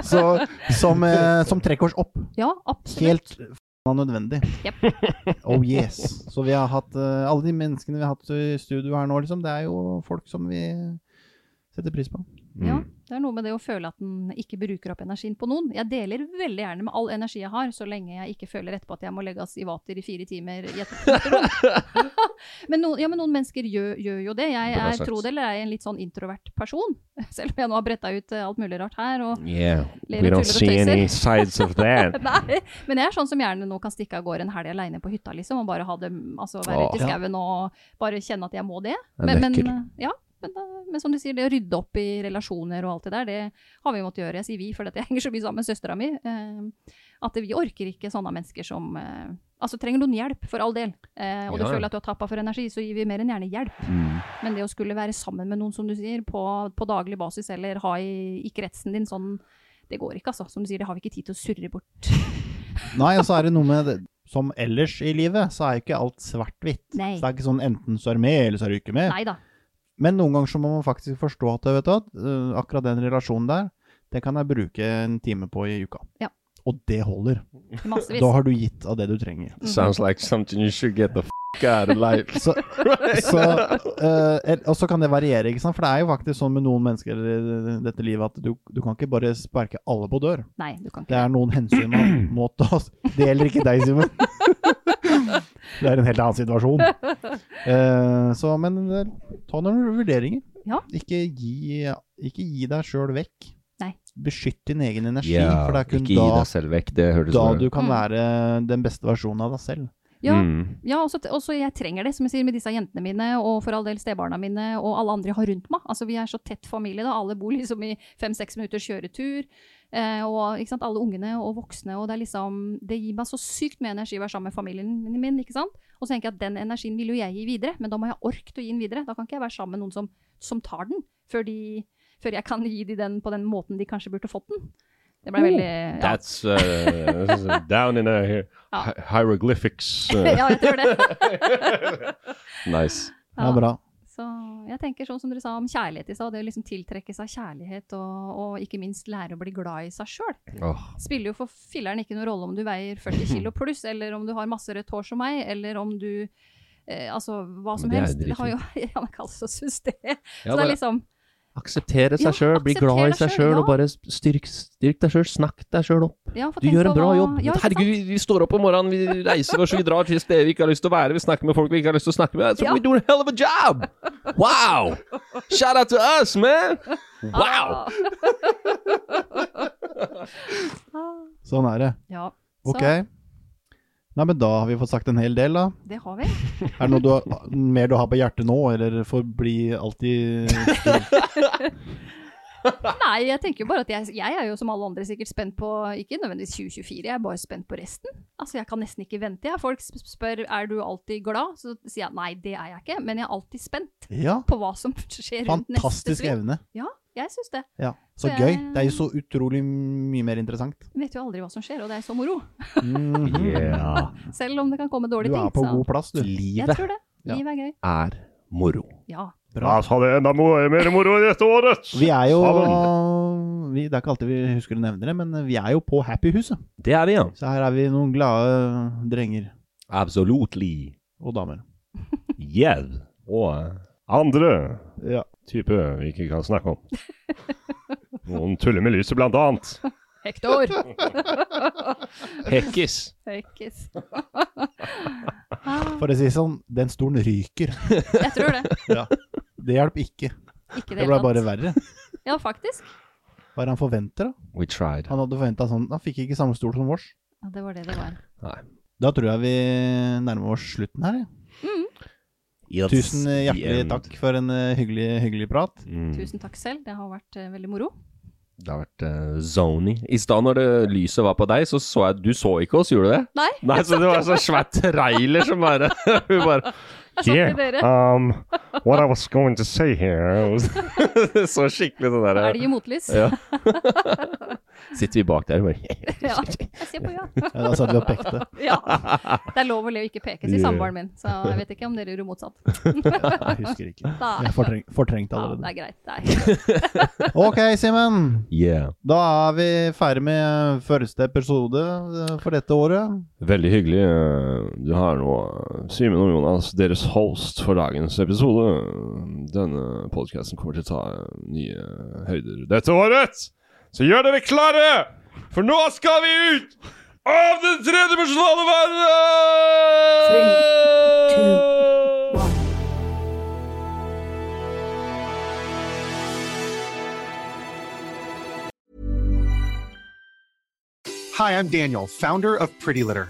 Speaker 2: Så, som, eh, som trekker oss opp.
Speaker 3: Ja, absolutt.
Speaker 2: Helt f***a nødvendig. Oh yes. Så vi har hatt eh, alle de menneskene vi har hatt i studio her nå, liksom, det er jo folk som vi setter pris på.
Speaker 3: Ja,
Speaker 1: Mm.
Speaker 3: det er noe med det å føle at den ikke bruker opp energien på noen. Jeg deler veldig gjerne med all energi jeg har, så lenge jeg ikke føler etterpå at jeg må legges i vater i fire timer i et *laughs* men, noen, ja, men noen mennesker gjør, gjør jo det. Jeg
Speaker 1: Bra
Speaker 3: er,
Speaker 1: sagt.
Speaker 3: tro det eller ei, en litt sånn introvert person. *laughs* Selv om jeg nå har bretta ut eh, alt mulig rart her. Og,
Speaker 4: Yeah,
Speaker 3: Little
Speaker 4: we don't
Speaker 3: tullet og
Speaker 4: see any
Speaker 3: tøyser.
Speaker 4: sides of
Speaker 3: *laughs*
Speaker 4: that.
Speaker 3: nei, men jeg er sånn som gjerne nå kan stikke av gårde en helg aleine på hytta, liksom. Og bare ha det, altså, være ute i
Speaker 2: Åh.
Speaker 3: skauen og bare kjenne at jeg må det.
Speaker 1: Det er
Speaker 3: Men, men,
Speaker 1: lekker.
Speaker 3: eh, ja, men, eh, men som du sier, det å rydde opp i relasjoner og alt det der, det har vi måttet gjøre. Jeg sier vi, for jeg *laughs* henger så mye sammen med søstera mi. eh, At vi orker ikke sånne mennesker som eh, Altså, trenger noen hjelp, for all del. Eh, Og du
Speaker 1: Ja, ja.
Speaker 3: føler at du har tappa for energi, så gir vi mer enn gjerne hjelp.
Speaker 1: Mm.
Speaker 3: Men det å skulle være sammen med noen, som du sier, på, på daglig basis, eller ha i, i kretsen din sånn, det går ikke, altså. Som du sier, det har vi ikke tid til å surre bort.
Speaker 2: Nei, og så er det noe med det. Som ellers i livet, så er jo ikke alt svart-hvitt.
Speaker 3: Nei.
Speaker 2: Så det er ikke sånn enten så er du med, eller så er du ikke med.
Speaker 3: Nei da.
Speaker 2: Men noen ganger så må man faktisk forstå at vet du, hva, eh, akkurat den relasjonen der, det kan jeg bruke en time på i uka.
Speaker 3: Ja.
Speaker 2: Og det holder.
Speaker 3: Massevis.
Speaker 2: Da har du gitt av det du trenger.
Speaker 1: Sounds like something you should get the f*** out of life.
Speaker 2: Så, så, eh, el- og så kan det variere, ikke sant? for det er jo faktisk sånn med noen mennesker i dette livet at du, du kan ikke bare sparke alle på dør.
Speaker 3: Nei, du kan
Speaker 2: Det
Speaker 3: ikke.
Speaker 2: er noen hensyn man må ta. Det gjelder ikke deg, Simen.
Speaker 3: *laughs*
Speaker 2: Det er en helt annen situasjon. Eh, så, men eh, ta noen vurderinger.
Speaker 3: Ja.
Speaker 2: Ikke, gi, ikke gi deg sjøl vekk.
Speaker 3: Nei.
Speaker 2: Beskytt din egen energi,
Speaker 1: Ja,
Speaker 2: for det er kun
Speaker 1: ikke gi
Speaker 2: da,
Speaker 1: deg selv vekk. Det høres
Speaker 2: da
Speaker 1: bra
Speaker 2: du
Speaker 1: ut.
Speaker 2: kan
Speaker 3: Mm.
Speaker 2: være den beste versjonen av deg selv.
Speaker 3: Ja,
Speaker 1: Mm.
Speaker 3: Ja, også, også jeg trenger det, som jeg sier, med disse jentene mine, og for all del stebarna mine, og alle andre jeg har rundt meg. Altså, vi er så tett familie, da. Alle bor liksom i fem-seks minutters kjøretur. Eh, og ikke sant? alle ungene og voksne, og det er liksom Det gir meg så sykt mye energi å være sammen med familien min, ikke sant. Og så tenker jeg at den energien vil jo jeg gi videre, men da må jeg ha ork til å gi den videre. Da kan ikke jeg være sammen med noen som, som tar den, før, de, før jeg kan gi de den på den måten de kanskje burde fått den. Det ble veldig ja.
Speaker 4: That's uh, down in a hier- hi- hieroglyphics. Uh,
Speaker 3: ja, jeg tror det.
Speaker 1: Nice.
Speaker 2: Det er bra.
Speaker 3: Så jeg tenker sånn som dere sa om kjærlighet i stad, det å liksom tiltrekke seg kjærlighet og, og ikke minst lære å bli glad i seg sjøl.
Speaker 1: Åh,
Speaker 3: Spiller jo for filleren ikke noen rolle om du veier
Speaker 1: *laughs*
Speaker 3: 40 kilo pluss, eller om du har masse rødt hår som meg, eller om du eh, Altså hva som
Speaker 1: det er jo
Speaker 3: helst. Det har jo *laughs* Ja, men kall det så det. Så det
Speaker 1: bare-
Speaker 3: er liksom
Speaker 1: Akseptere
Speaker 3: Ja,
Speaker 1: seg sjøl, bli
Speaker 3: aksepter
Speaker 1: glad i
Speaker 3: deg
Speaker 1: seg
Speaker 3: selv,
Speaker 1: sjøl, og
Speaker 3: ja.
Speaker 1: bare styrk, styrk deg sjøl. Snakk deg sjøl opp.
Speaker 3: ja, for
Speaker 1: Du
Speaker 3: tenk
Speaker 1: gjør en
Speaker 3: på
Speaker 1: bra
Speaker 3: hva-
Speaker 1: jobb.
Speaker 3: Ja, ikke sant?
Speaker 1: Herregud, vi- vi står opp om morgenen, vi reiser oss, vi drar til steder vi ikke har lyst til å være, vi snakker med folk vi ikke har lyst til å snakke med. So
Speaker 3: Ja.
Speaker 1: we do a hell of a job! Wow! Shout out to us, man! Wow!
Speaker 2: Sånn er det.
Speaker 3: Ja. Så
Speaker 2: Ok. Nei, men da har vi fått sagt en hel del, da.
Speaker 3: det har vi.
Speaker 2: Er det noe du har, mer du har på hjertet nå, eller forbli
Speaker 3: *laughs*
Speaker 2: alltid
Speaker 3: Nei, jeg tenker jo bare at jeg, jeg er jo som alle andre sikkert spent på, ikke nødvendigvis 2024, jeg er bare spent på resten. Altså, jeg kan nesten ikke vente. Jeg. Folk sp- spør er du alltid glad, så sier jeg nei, det er jeg ikke, men jeg er alltid spent
Speaker 2: Ja,
Speaker 3: på hva som *laughs* skjer rundt neste
Speaker 2: fantastisk
Speaker 3: sving.
Speaker 2: evne.
Speaker 3: Ja, jeg syns det.
Speaker 2: Ja, Så eh,
Speaker 3: Så
Speaker 2: gøy.
Speaker 3: jeg-
Speaker 2: Det er jo så utrolig mye mer interessant.
Speaker 3: Jeg vet jo aldri hva som skjer, og det er så moro.
Speaker 2: Mhm.
Speaker 1: Yeah.
Speaker 3: Selv om det kan komme
Speaker 2: Du
Speaker 3: dårlige ting.
Speaker 2: er på
Speaker 3: så-
Speaker 2: god plass, du.
Speaker 3: Jeg
Speaker 1: Livet
Speaker 3: tror det.
Speaker 2: Ja.
Speaker 3: Livet er gøy.
Speaker 1: er moro.
Speaker 3: Ja.
Speaker 2: Bra.
Speaker 4: Altså, det er enda mo- mer moro i dette året!
Speaker 2: Vi er jo vi, Det er ikke alltid vi husker å nevne det, men vi er jo på Happyhuset.
Speaker 1: Det er vi, ja.
Speaker 2: Så her er vi noen glade drenger
Speaker 1: Absolutely.
Speaker 2: og damer.
Speaker 4: Yeah. Og eh, andre
Speaker 2: Ja.
Speaker 4: type vi ikke kan snakke om. Noen tuller med lyset, blant annet.
Speaker 2: *laughs*
Speaker 3: Hector!
Speaker 1: Hekkis.
Speaker 3: *laughs* Høykes.
Speaker 2: For å si det sånn, den stolen ryker.
Speaker 3: Ah, Jeg tror det.
Speaker 2: Det hjalp ikke.
Speaker 3: Ikke
Speaker 2: Det
Speaker 3: det
Speaker 2: ble
Speaker 3: hele
Speaker 2: bare
Speaker 3: tatt.
Speaker 2: verre.
Speaker 3: Ja, faktisk.
Speaker 2: Hva er det han forventer, da?
Speaker 1: We tried.
Speaker 2: Han hadde forventa sånn Han fikk ikke samme stol som vårs.
Speaker 3: Ja, det var det det var.
Speaker 2: Da tror jeg vi nærmer oss slutten her. jeg. Tusen hjertelig takk for en eh, hyggelig, hyggelig prat.
Speaker 4: Mm.
Speaker 3: Tusen takk selv, det har vært eh, veldig moro.
Speaker 1: Mm. Det har vært eh, zony. I stad når det lyset var på deg, så så jeg Du så ikke oss, gjorde du det?
Speaker 3: Nei,
Speaker 1: Nei, så det var en sånn svær trailer som bare, *laughs* hun bare
Speaker 3: jeg satt med dere.
Speaker 4: Um, what I was going
Speaker 1: *laughs*
Speaker 4: to say here was
Speaker 1: Så skikkelig sånn der
Speaker 3: Elg i motlys.
Speaker 1: Sitter vi bak der og bare
Speaker 3: *laughs* Ja, jeg ser på ja.
Speaker 2: *laughs* Ja, da satt vi og pekte.
Speaker 3: ja. Det er lov å le og ikke peke, sier samboeren min. Så jeg vet ikke om dere gjorde motsatt.
Speaker 2: Jeg husker ikke.
Speaker 3: Da-
Speaker 2: Jeg er fortreng,
Speaker 3: Ja,
Speaker 2: fortrengt
Speaker 3: det
Speaker 2: allerede.
Speaker 3: er greit. Det er.
Speaker 2: Ok, Simen.
Speaker 4: Yeah.
Speaker 2: Da er vi ferdig med første episode eh, for dette året.
Speaker 4: Veldig hyggelig. eh, Du har nå eh, Simen og Jonas, deres host for dagens episode. Denne podkasten kommer til å ta eh, nye høyder dette året! Så gjør dere klare! For nå skal vi ut av den tredimensjonale verden!
Speaker 5: Hi, I'm Daniel, founder of Pretty Litter.